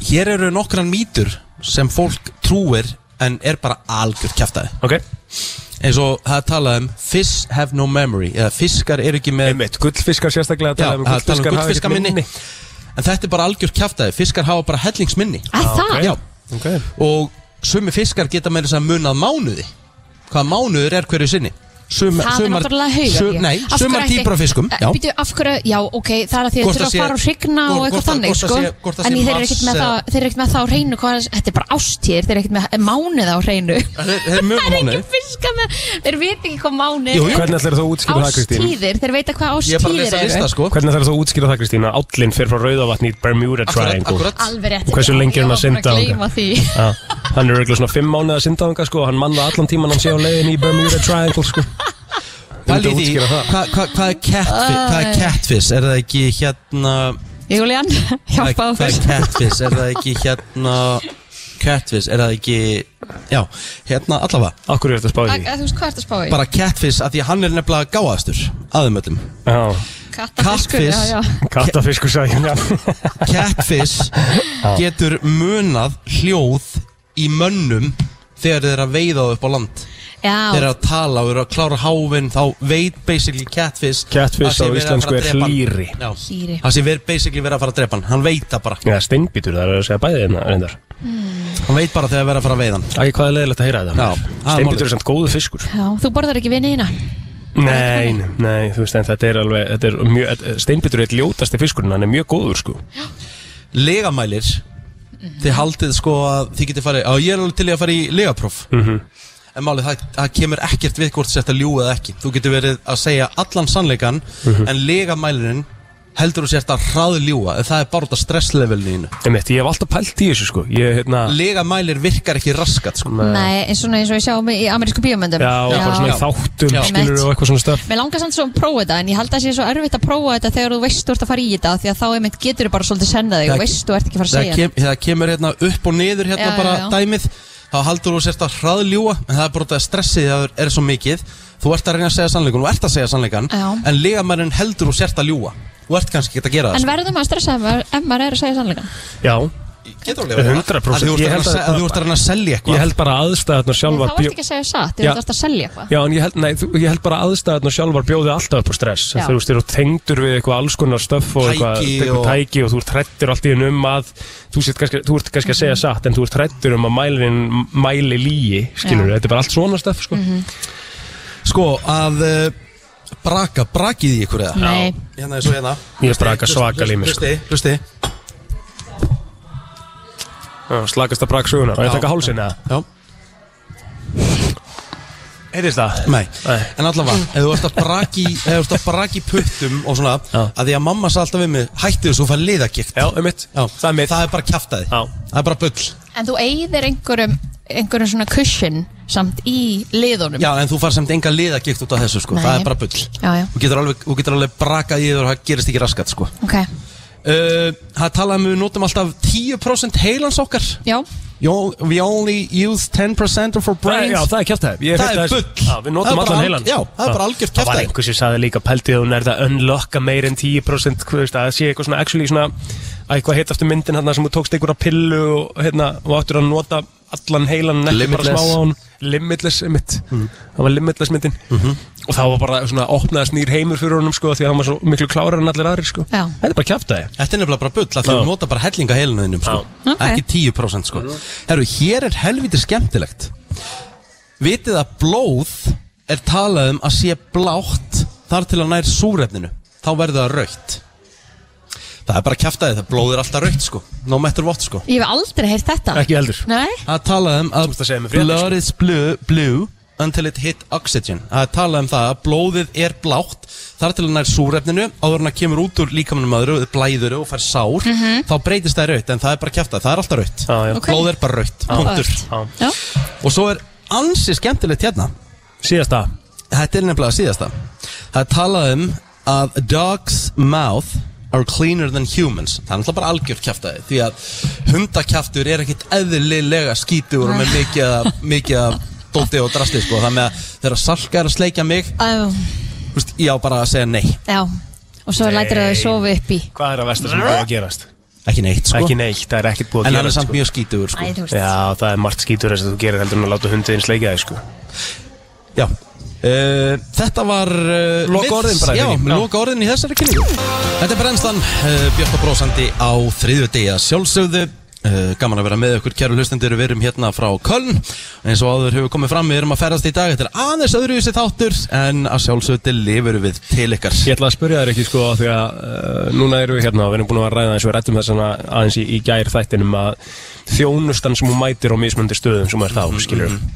Speaker 2: hér eru nokkran mýtur sem fólk trúir en er bara algjör kjaftaði
Speaker 3: Ok
Speaker 2: eins og það er talað um fish have no memory eða fiskar eru ekki með
Speaker 3: Einmitt, gullfiskar sérstaklega
Speaker 2: Já,
Speaker 3: tala um
Speaker 2: að tala um
Speaker 3: gullfiskar hafa ekkert
Speaker 2: gullfiskaminni. en þetta er bara algjör kjaftaði fiskar hafa bara hellingsminni
Speaker 4: að það
Speaker 3: ok.
Speaker 2: Já,
Speaker 3: Ok
Speaker 2: og sumi fiskar geta með þess að munað mánuði hvað mánuður er hverju sinni Sum,
Speaker 4: Það er náttúrulega haugar
Speaker 2: sum, Nei, sumar dýbra fiskum
Speaker 4: já. Býtu, Eh, af hverju, já, ok, það er að því að
Speaker 2: Hvort
Speaker 4: þeir eru
Speaker 2: það
Speaker 4: að
Speaker 2: sé-
Speaker 4: fara og hrygna og
Speaker 2: hvort-
Speaker 4: eitthvað
Speaker 2: hvort-
Speaker 4: þannig,
Speaker 2: hvort það
Speaker 4: sko
Speaker 2: sé- hvort það
Speaker 4: En
Speaker 2: sé
Speaker 4: þeir eru ekkert
Speaker 2: mars
Speaker 4: með það,
Speaker 2: eða-
Speaker 4: þeir eru ekkert með það á hreinu hvað, Þetta er bara ástíðir, þeir eru ekkert með mánuð á hreinu
Speaker 2: Eh, Þeir- þeir muna
Speaker 4: Það er
Speaker 2: mánuði.
Speaker 4: ekki fiska með, þeir veit ekki hvað mánuð
Speaker 2: Jú, jú.
Speaker 3: Hvernig ætlar þú að útskýra það, Kristín?
Speaker 4: Ástíðir, þeir veit að hvað
Speaker 2: Ég er bara að
Speaker 4: ástíðir
Speaker 2: lesa
Speaker 4: eru
Speaker 2: lista sko
Speaker 3: Hvernig ætlar þú að útskýra það, Kristín? Að állinn fer frá Rauðavatni í Bermuda
Speaker 2: Akkurat,
Speaker 3: Triangle
Speaker 2: akkurat
Speaker 4: Alveg rétt
Speaker 3: Hversu lengi er hann að synda
Speaker 4: á
Speaker 3: þangað?
Speaker 4: það?
Speaker 3: Já, hann er auðvitað svona fimm mánuða sindaðunga sko og hann manna allan tíman hann sé á leiðin í Bermuda Triangle sko
Speaker 2: Pæli
Speaker 3: Myndi
Speaker 2: því,
Speaker 3: útskýra það.
Speaker 2: hvað hva, hva er catfish? Hvað er catfish? Er það ekki hérna
Speaker 4: Júlían, hjálpa
Speaker 2: Hvað er
Speaker 4: okkur
Speaker 2: catfish? Er það ekki hérna Catfish, er það ekki Já, hérna allavega
Speaker 3: Akkur er þetta spáð í
Speaker 4: Að- að eh, Þú veist hvað ertu að spá í?
Speaker 2: Bara catfish af því að hann er nefnilega gáðastur Aðum öllum
Speaker 3: því? Já,
Speaker 4: Kattafiskur,
Speaker 2: kattfis.
Speaker 4: já, já.
Speaker 3: kattafiskur sækjum já
Speaker 2: Catfish getur munað hljóð í mönnum þegar þeir eru að veiða þá upp á land þeir eru
Speaker 4: Já,
Speaker 2: að tala og eru að klára háfinn þá veit basically catfish að
Speaker 3: Catfish á
Speaker 2: sé verið að
Speaker 3: íslensku
Speaker 2: fara að
Speaker 3: er
Speaker 2: drepa hann.
Speaker 3: hlýri.
Speaker 2: Já.
Speaker 4: Hlýri.
Speaker 2: það sé verið basically verið að fara að drepa hann hann veit það bara
Speaker 3: Já, steinbítur, það er að segja bæði hérna reyndar
Speaker 2: hann veit bara þegar verið að fara að veiða hann
Speaker 3: Æ, hvað er leiðilegt að heyra þetta?
Speaker 2: Já, það er
Speaker 3: Steinbítur
Speaker 2: málið.
Speaker 3: er samt góðu fiskur
Speaker 4: já, þú borðar ekki vinni þína
Speaker 3: Nei, nei, þú veist, en þetta er alveg þetta er mjög, Steinbítur er eitt ljótasti fiskurinn, hann er mjög góður sko
Speaker 2: legamælir þið haldið sko að þið getið farið á ég er alveg til í að fara í legapróf en málið það, það kemur ekkert við hvort þetta ljúið eða ekki þú getur verið að segja allan sannleikan en legamælirinn heldur þú sért að hraðljúa en það er bara út af stresslevelinu
Speaker 3: Einmitt, Ég hef alltaf pælt í þessu sko Ég, hérna,
Speaker 2: legamælir virkar ekki raskat sko.
Speaker 4: Nei, eins og, eins og ég sjáum í amerísku bíómyndum
Speaker 3: já, já, bara svona í þáttum,
Speaker 2: Já.
Speaker 3: skilur og eitthvað svona stöf
Speaker 4: Mér langar samt svo að prófa þetta en ég held að það sé svo erfitt að prófa þetta þegar þú veist þú ert að fara í þetta því að þá einmitt getur þú bara svolítið senda þig
Speaker 2: Það-
Speaker 4: og veist þú ert ekki að fara að
Speaker 2: það,
Speaker 4: segja
Speaker 2: kem, það kemur hérna upp og niður hérna
Speaker 4: Já,
Speaker 2: bara
Speaker 4: já, já.
Speaker 2: dæmið þá heldur þú sért að hraðljúa en það er bara út af stressið það er- er svo mikið þú ert að reyna að segja sannleikan, þú ert að segja sannleikan
Speaker 4: Já.
Speaker 2: en legamælirinn heldur þú sért að ljúa þú ert kannski ekki að gera það
Speaker 3: sko.
Speaker 2: sko.
Speaker 4: En verður maður að stressa ef maður- ef maður er að segja sannleikan?
Speaker 3: Já,
Speaker 2: Getur alveg verið Að
Speaker 3: 100%.
Speaker 2: þú ert
Speaker 3: Ég
Speaker 2: að reyna að
Speaker 3: held að
Speaker 2: se- að þú ert að reyna að selja
Speaker 3: ég
Speaker 2: eitthvað
Speaker 3: held bara að aðstæðarnar
Speaker 4: En
Speaker 3: sjálfar
Speaker 4: þá
Speaker 3: bjó-
Speaker 4: ertu ekki að segja satt, þú
Speaker 3: Já.
Speaker 4: ert að selja eitthvað
Speaker 3: Já, en ég held, nei, þú- ég held bara aðstæðan og sjálfar bjóði alltaf upp á stress
Speaker 4: Já.
Speaker 3: Þú veist, þú tengdur við eitthvað alls konar stöff og eitthvað
Speaker 2: Tæki
Speaker 3: eitthvað
Speaker 2: og-
Speaker 3: tæki og þú ert hrættur allt í hennu um að þú, sért kannski, þú ert kannski að segja satt en þú ert hrættur um að mælin mæli lígi, skilur
Speaker 4: Já.
Speaker 3: þetta er bara allt svona stöff, sko
Speaker 2: Sko að uh, braka, brakið í ykkur eða
Speaker 4: Nei,
Speaker 2: Hérna er svo hérna
Speaker 3: Ég braka sko. svakalega í mér,
Speaker 2: Hlusti, hlusti
Speaker 3: Já, Slakasta brak sögunar, og ég
Speaker 2: Já.
Speaker 3: taka hálsinn eða
Speaker 2: Já,
Speaker 3: Heitist það?
Speaker 2: nei
Speaker 3: Nei. Mm.
Speaker 2: En allavega, ef þú ert að braki Ef þú ert að braki puttum og svona
Speaker 3: Já.
Speaker 2: Að því að mamma sagði alltaf við mig Hættu þessu og fær liðagikt
Speaker 3: Já, um mitt, það er mitt
Speaker 2: Það er bara kjaftaði
Speaker 3: Já.
Speaker 2: Það er bara bull
Speaker 4: en þú eigðir einhverjum, einhverjum svona cushion samt í liðunum
Speaker 2: Já, en þú far semt enga liðagikt út af þessu sko
Speaker 4: Nei.
Speaker 2: Það er bara bull
Speaker 4: já, já.
Speaker 2: Þú getur alveg, þú getur alveg brakað í þér og það gerist ekki raskat sko
Speaker 4: ok
Speaker 2: Uh, Það talaði um að við notum alltaf 10% heilans okkar
Speaker 4: Já,
Speaker 2: Yo- We only use 10% of our
Speaker 3: Það,
Speaker 2: brains
Speaker 3: já, það er kjæftæði
Speaker 2: Það er bull.
Speaker 3: já, Við
Speaker 2: Það
Speaker 3: notum
Speaker 2: er bara
Speaker 3: allan
Speaker 2: alg-
Speaker 3: heilan
Speaker 2: já, það er bara algjört
Speaker 3: Það var
Speaker 2: kjaftæði.
Speaker 3: einhvers sem saði líka pæltið að hún er það að unlocka meir en 10% hvað veist, að það sé eitthvað svona actually svona að eitthvað heit aftur myndin hérna sem þú tókst einhverja pillu og, hérna, og áttur að nota allan heilan en ekki bara
Speaker 2: Limitless. Mhm.
Speaker 3: smá á hún Limitless mitt Það var Limitless myndin og það var bara svona opnaðast nýr heimur fyrir honum sko því að hann var svo miklu klárar en allir aðrir sko
Speaker 4: Já.
Speaker 3: Þetta er bara kjæftæði
Speaker 2: Þetta er nefnilega bara bull að
Speaker 3: Já.
Speaker 2: þú nota bara hellinga heilunum sko.
Speaker 4: Já. Ok. Mhm.
Speaker 2: ekki 10% sko. Herru, hér er helviti skemmtilegt Vitið að blóð er talað um að sé blátt þar til að nær súrefninu þá verður það raukt það er bara kæftæði, það blóðir alltaf raukt sko no matter what sko
Speaker 4: Ég hef aldrei heyrt þetta
Speaker 3: Ekki heldur
Speaker 4: Nei,
Speaker 2: að tala um að
Speaker 3: ert að segja mér fréttir, sko.
Speaker 2: blood is blue, blue until it hit oxygen að tala um það að blóðið er blátt þar til hann er súrefninu áður en það kemur út úr líkamannum öðru og blæður og fær sár þá breytist það í raut en það er bara kæft það er alltaf raut
Speaker 3: Já, já.
Speaker 4: Ok.
Speaker 2: blóð er bara raut punktur
Speaker 4: Áhugavert. Já.
Speaker 2: og svo er ansi skemmtilegt hérna
Speaker 3: Síðasta
Speaker 2: þetta er nefnilega síðasta það er talað um að dogs mouth are cleaner than humans það er náttúrulega bara algjör kjaftaði því að hundakjaftur er ekkit eðlilega skítur og með mikið af- mikið af dóti og drasti sko þannig að þegar salka er að sleikja mig
Speaker 4: Æ,
Speaker 2: þú veist, ég á bara að segja nei,
Speaker 4: Um, Já, og svo lætir það að sofa upp í
Speaker 3: Hvað er að versta sem er búið að gerast?
Speaker 2: ekki neitt sko
Speaker 3: Ekki neitt, það er ekkert búið
Speaker 2: en
Speaker 3: að
Speaker 2: hann er
Speaker 3: gerast
Speaker 2: samt
Speaker 3: sko.
Speaker 2: mjög skítur sko
Speaker 4: Æ, þú veist
Speaker 3: Já, það er margt skítur þess að þú gerir heldur en að láta hundiðin sleikja þig sko
Speaker 2: já Uh, þetta var uh,
Speaker 3: Loka orðin bara,
Speaker 2: já,
Speaker 3: eða ekki? Já.
Speaker 2: loka orðin í þessari kynningu Þetta er brennstan, uh, Björk og Brósandi á þriðju degi að sjálfsögðu uh, Gaman að vera með okkur kæru hlustendur Við erum hérna frá Köln eins og áður hefur komið fram, við erum að ferðast í dag Þetta er aðeins öðruvísi þáttur en að sjálfsögðu lifur við til ykkar
Speaker 3: Ég ætla að spyrja þér ekki sko því að uh, núna erum við hérna og við erum búin að vera að ræða eins og við rættum þess að aðeins í, í gær þættinum að þjónustan sem hún mætir á mismöndi stöðum sem hún er þá, skilur mm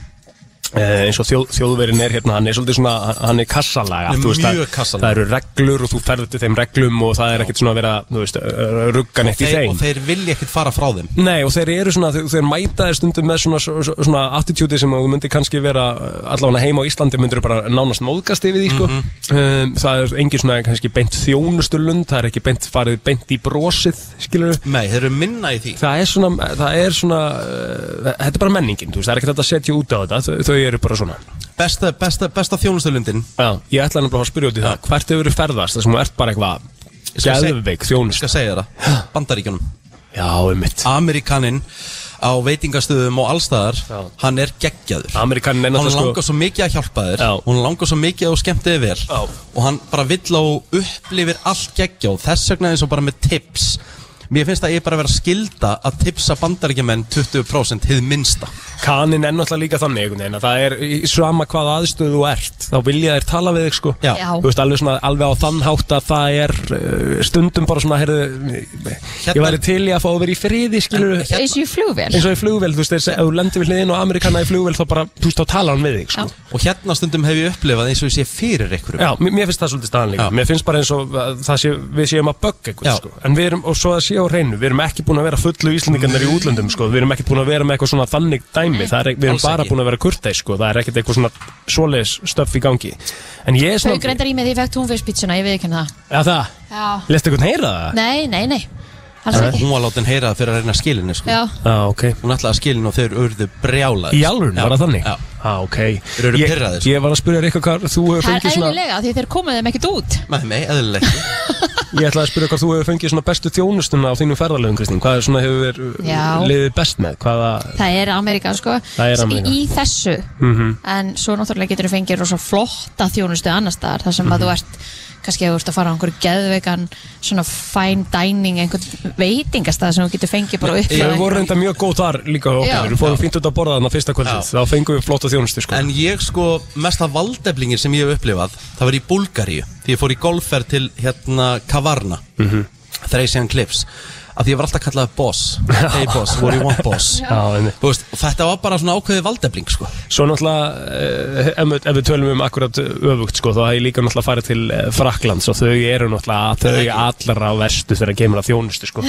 Speaker 3: eins og þjóð, þjóðverin er hérna, hann er svolítið svona, hann- hann er kassalaga
Speaker 2: Hann er
Speaker 3: þú veist,
Speaker 2: mjög
Speaker 3: það-
Speaker 2: kassalaga.
Speaker 3: Það eru reglur og þú ferður til þeim reglum og það er ekkert svona að vera, þú veist, uh, rugga neitt í
Speaker 2: þeir,
Speaker 3: þeim
Speaker 2: Og þeir vilja ekkert fara frá þeim
Speaker 3: Nei og þeir eru svona, þeir, þeir mæta þér stundum með svona, svona, svona attitúti sem að þú myndir kannski vera uh, allavega heima á Íslandi myndir bara nánast móðgast yfir því sko. um, það er engin svona kannski beint þjónustulund, það er ekki beint farið beint í brosið skilur
Speaker 2: Nei, þeir eru minna í því
Speaker 3: Það er svona, það er svona uh, þetta er bara menningin, þú veist, það er ekki þetta að setja út á þetta, þau, þau eru bara svona
Speaker 2: Besta, besta, besta þjónustölundin
Speaker 3: Já, ég ætla nefnilega að spyrja út í það, hvert hefur þú ferðast þar sem þú ert bara eitthvað
Speaker 2: skal seg-
Speaker 3: geðveik þjónust,
Speaker 2: Skal segja þér það, bandaríkjunum
Speaker 3: já, um mitt
Speaker 2: Amerikaninn á veitingastöðum og allstæðar
Speaker 3: Já.
Speaker 2: hann er geggjaður
Speaker 3: Amerikaninn er
Speaker 2: hann
Speaker 3: náttúrulega sko-
Speaker 2: langar svo mikið að hjálpa þér
Speaker 3: Já.
Speaker 2: hún langar svo mikið að þú skemmti þér vel
Speaker 3: Já.
Speaker 2: og hann bara vill og upplifir allt geggja og þess vegna eins og bara með tips Mér finnst að ég bara vera skilda að tipsa bandaríkjumenn 20% hið minnsta.
Speaker 3: Kanin er náttúrulega líka þannig einhvern veginn að það er í sama hvað aðstöðu þú ert þá vilja þér tala við þig sko
Speaker 2: Já.
Speaker 4: Já.
Speaker 3: Þú veist alveg, svona, alveg á þann hátt að það er uh, stundum bara svona heyrðu, ég
Speaker 2: Hérna-
Speaker 3: væri til í að fá að vera í friði skilur
Speaker 2: Hérna-
Speaker 4: Eins og ég flugvél
Speaker 3: eins og í flugvél, þú veist, þeir segja, ef þú lendir við hliðin og Amerikana í flugvél þá bara, þú veist, þá tala hann við þig sko.
Speaker 4: Já.
Speaker 2: Og hérna stundum hef ég upplifað eins og ég sé fyrir ykkur.
Speaker 3: Já, mér, mér finnst það svolítið staðan líka
Speaker 2: Já.
Speaker 3: Mér finnst bara eins og að það sé, við séum að bögga
Speaker 2: Já.
Speaker 3: eitthvað sko. En við erum, og svo að sé á hreinu Við erum ekki búin að vera fullu íslendingarnir í útlöndum sko. Við erum ekki búin að vera með eitthvað svona þannig dæmi Það er, Við erum
Speaker 2: Alls
Speaker 3: bara
Speaker 2: ekki.
Speaker 3: búin að vera kurteis sko. Það er ekkert eitthvað svona svoleiðis stöff í gangi En ég er
Speaker 4: Þau
Speaker 3: svona
Speaker 4: greindar í mig því ég fekk túnfiskpítsuna, ég veit ekki um það
Speaker 3: Já, það,
Speaker 4: Já
Speaker 3: lestu eitthvað heyra það?
Speaker 4: Nei, nei, nei, alls ekki
Speaker 2: Hún var látin heyra það fyrir að reyna skilinni sko.
Speaker 4: Já,
Speaker 3: Já, ok
Speaker 2: Hún ætlaði að skilin og þeir urðu brjála
Speaker 3: Í alvörun, var það þannig?
Speaker 2: Já.
Speaker 3: Já, ok
Speaker 2: Þeir eru
Speaker 3: Ég-
Speaker 2: pirraðir, sko.
Speaker 3: Ég var að spyrja Rikka hvað þú hefur
Speaker 4: það er
Speaker 3: fengið svona
Speaker 4: eðlilega því þeir komuð þeim ekkert út
Speaker 2: Með mig, eðlilegt
Speaker 3: Ég ætlaði að spyrja hvað þú hefur fengið svona bestu þjónustuna á þínum ferðalöfum, Kristín Hvað er svona hefur
Speaker 4: Já.
Speaker 3: liðið best með? Hvaða,
Speaker 4: Það er Amerika, sko
Speaker 3: Það er Ameríka. Mhm.
Speaker 4: Í, í þessu En svo náttúrulega getur þú fengið rosa flotta þjónustu annar staðar Þar sem að
Speaker 3: Mhm.
Speaker 4: þú ert kannski að þú ert að fara á einhver geðveikan svona fine dining einhvern veitingastað sem þú getur fengið bara upp
Speaker 3: Já, við vorum reynda mjög góð þar líka hjá
Speaker 4: Já.
Speaker 3: okkur, við fórum fínt út að borða þarna fyrsta kvöldið,
Speaker 2: Já.
Speaker 3: þá fengum við flotta þjónustu sko.
Speaker 2: En ég sko, mesta valdeflingin sem ég hef upplifað Það var í Búlgaríu Því ég fór í golfferð til hérna Kavarna mm -hmm. Thracian Cliffs Af því ég var alltaf kallað boss Hey boss, what do you want boss
Speaker 3: Já, einmitt.
Speaker 2: Þú veist, Þetta var bara svona ákveði valdefling sko.
Speaker 3: Svo náttúrulega, eh, ef, við- ef við tölum um akkurat öfugt sko, þá hef ég líka náttúrulega farið til eh, Fraklands og þau eru náttúrulega, þau allra á verstu þegar kemur að þjónustu sko.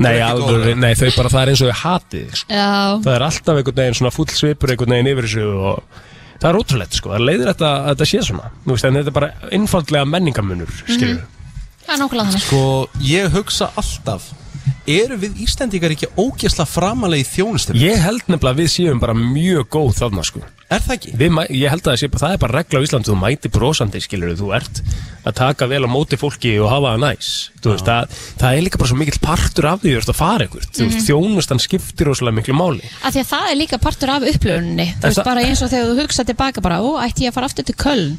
Speaker 3: nei,
Speaker 2: ekki
Speaker 3: alveg,
Speaker 2: góðar.
Speaker 3: nei, þau bara, það er eins og þau hatið þig, sko.
Speaker 4: Já,
Speaker 3: það er alltaf einhvern veginn svona full svipur einhvern veginn yfir þessu og það er ótrúlegt sko, það leiðir þetta að þetta sé svona, þú veist, en þetta er bara einfaldlega menningamunur, skilur
Speaker 4: það er nákvæmlega þannig
Speaker 2: sko, Ég hugsa alltaf Eru við Íslendingar ekki ógæsla framalegi þjónustum?
Speaker 3: Ég held nefnilega að við séum bara mjög góð þarna sko.
Speaker 2: Er það ekki?
Speaker 3: Við mæ, ég held að það sé bara, það er bara regla á Íslandi, þú mæti brosandi, skilur þú ert að taka vel á móti fólki og hafa það næs, þú veist, það, það er líka bara svo mikill partur af því þú ert að fara ykkur, þú
Speaker 4: Mhm.
Speaker 3: veist, þjónustan skiptir rosalega miklu máli.
Speaker 4: Af því að það er líka partur af upplöfunni Þú veist
Speaker 3: það-
Speaker 4: bara eins og þegar þú hugsa tilbaka bara Ó, ætti ég að fara aftur til Köln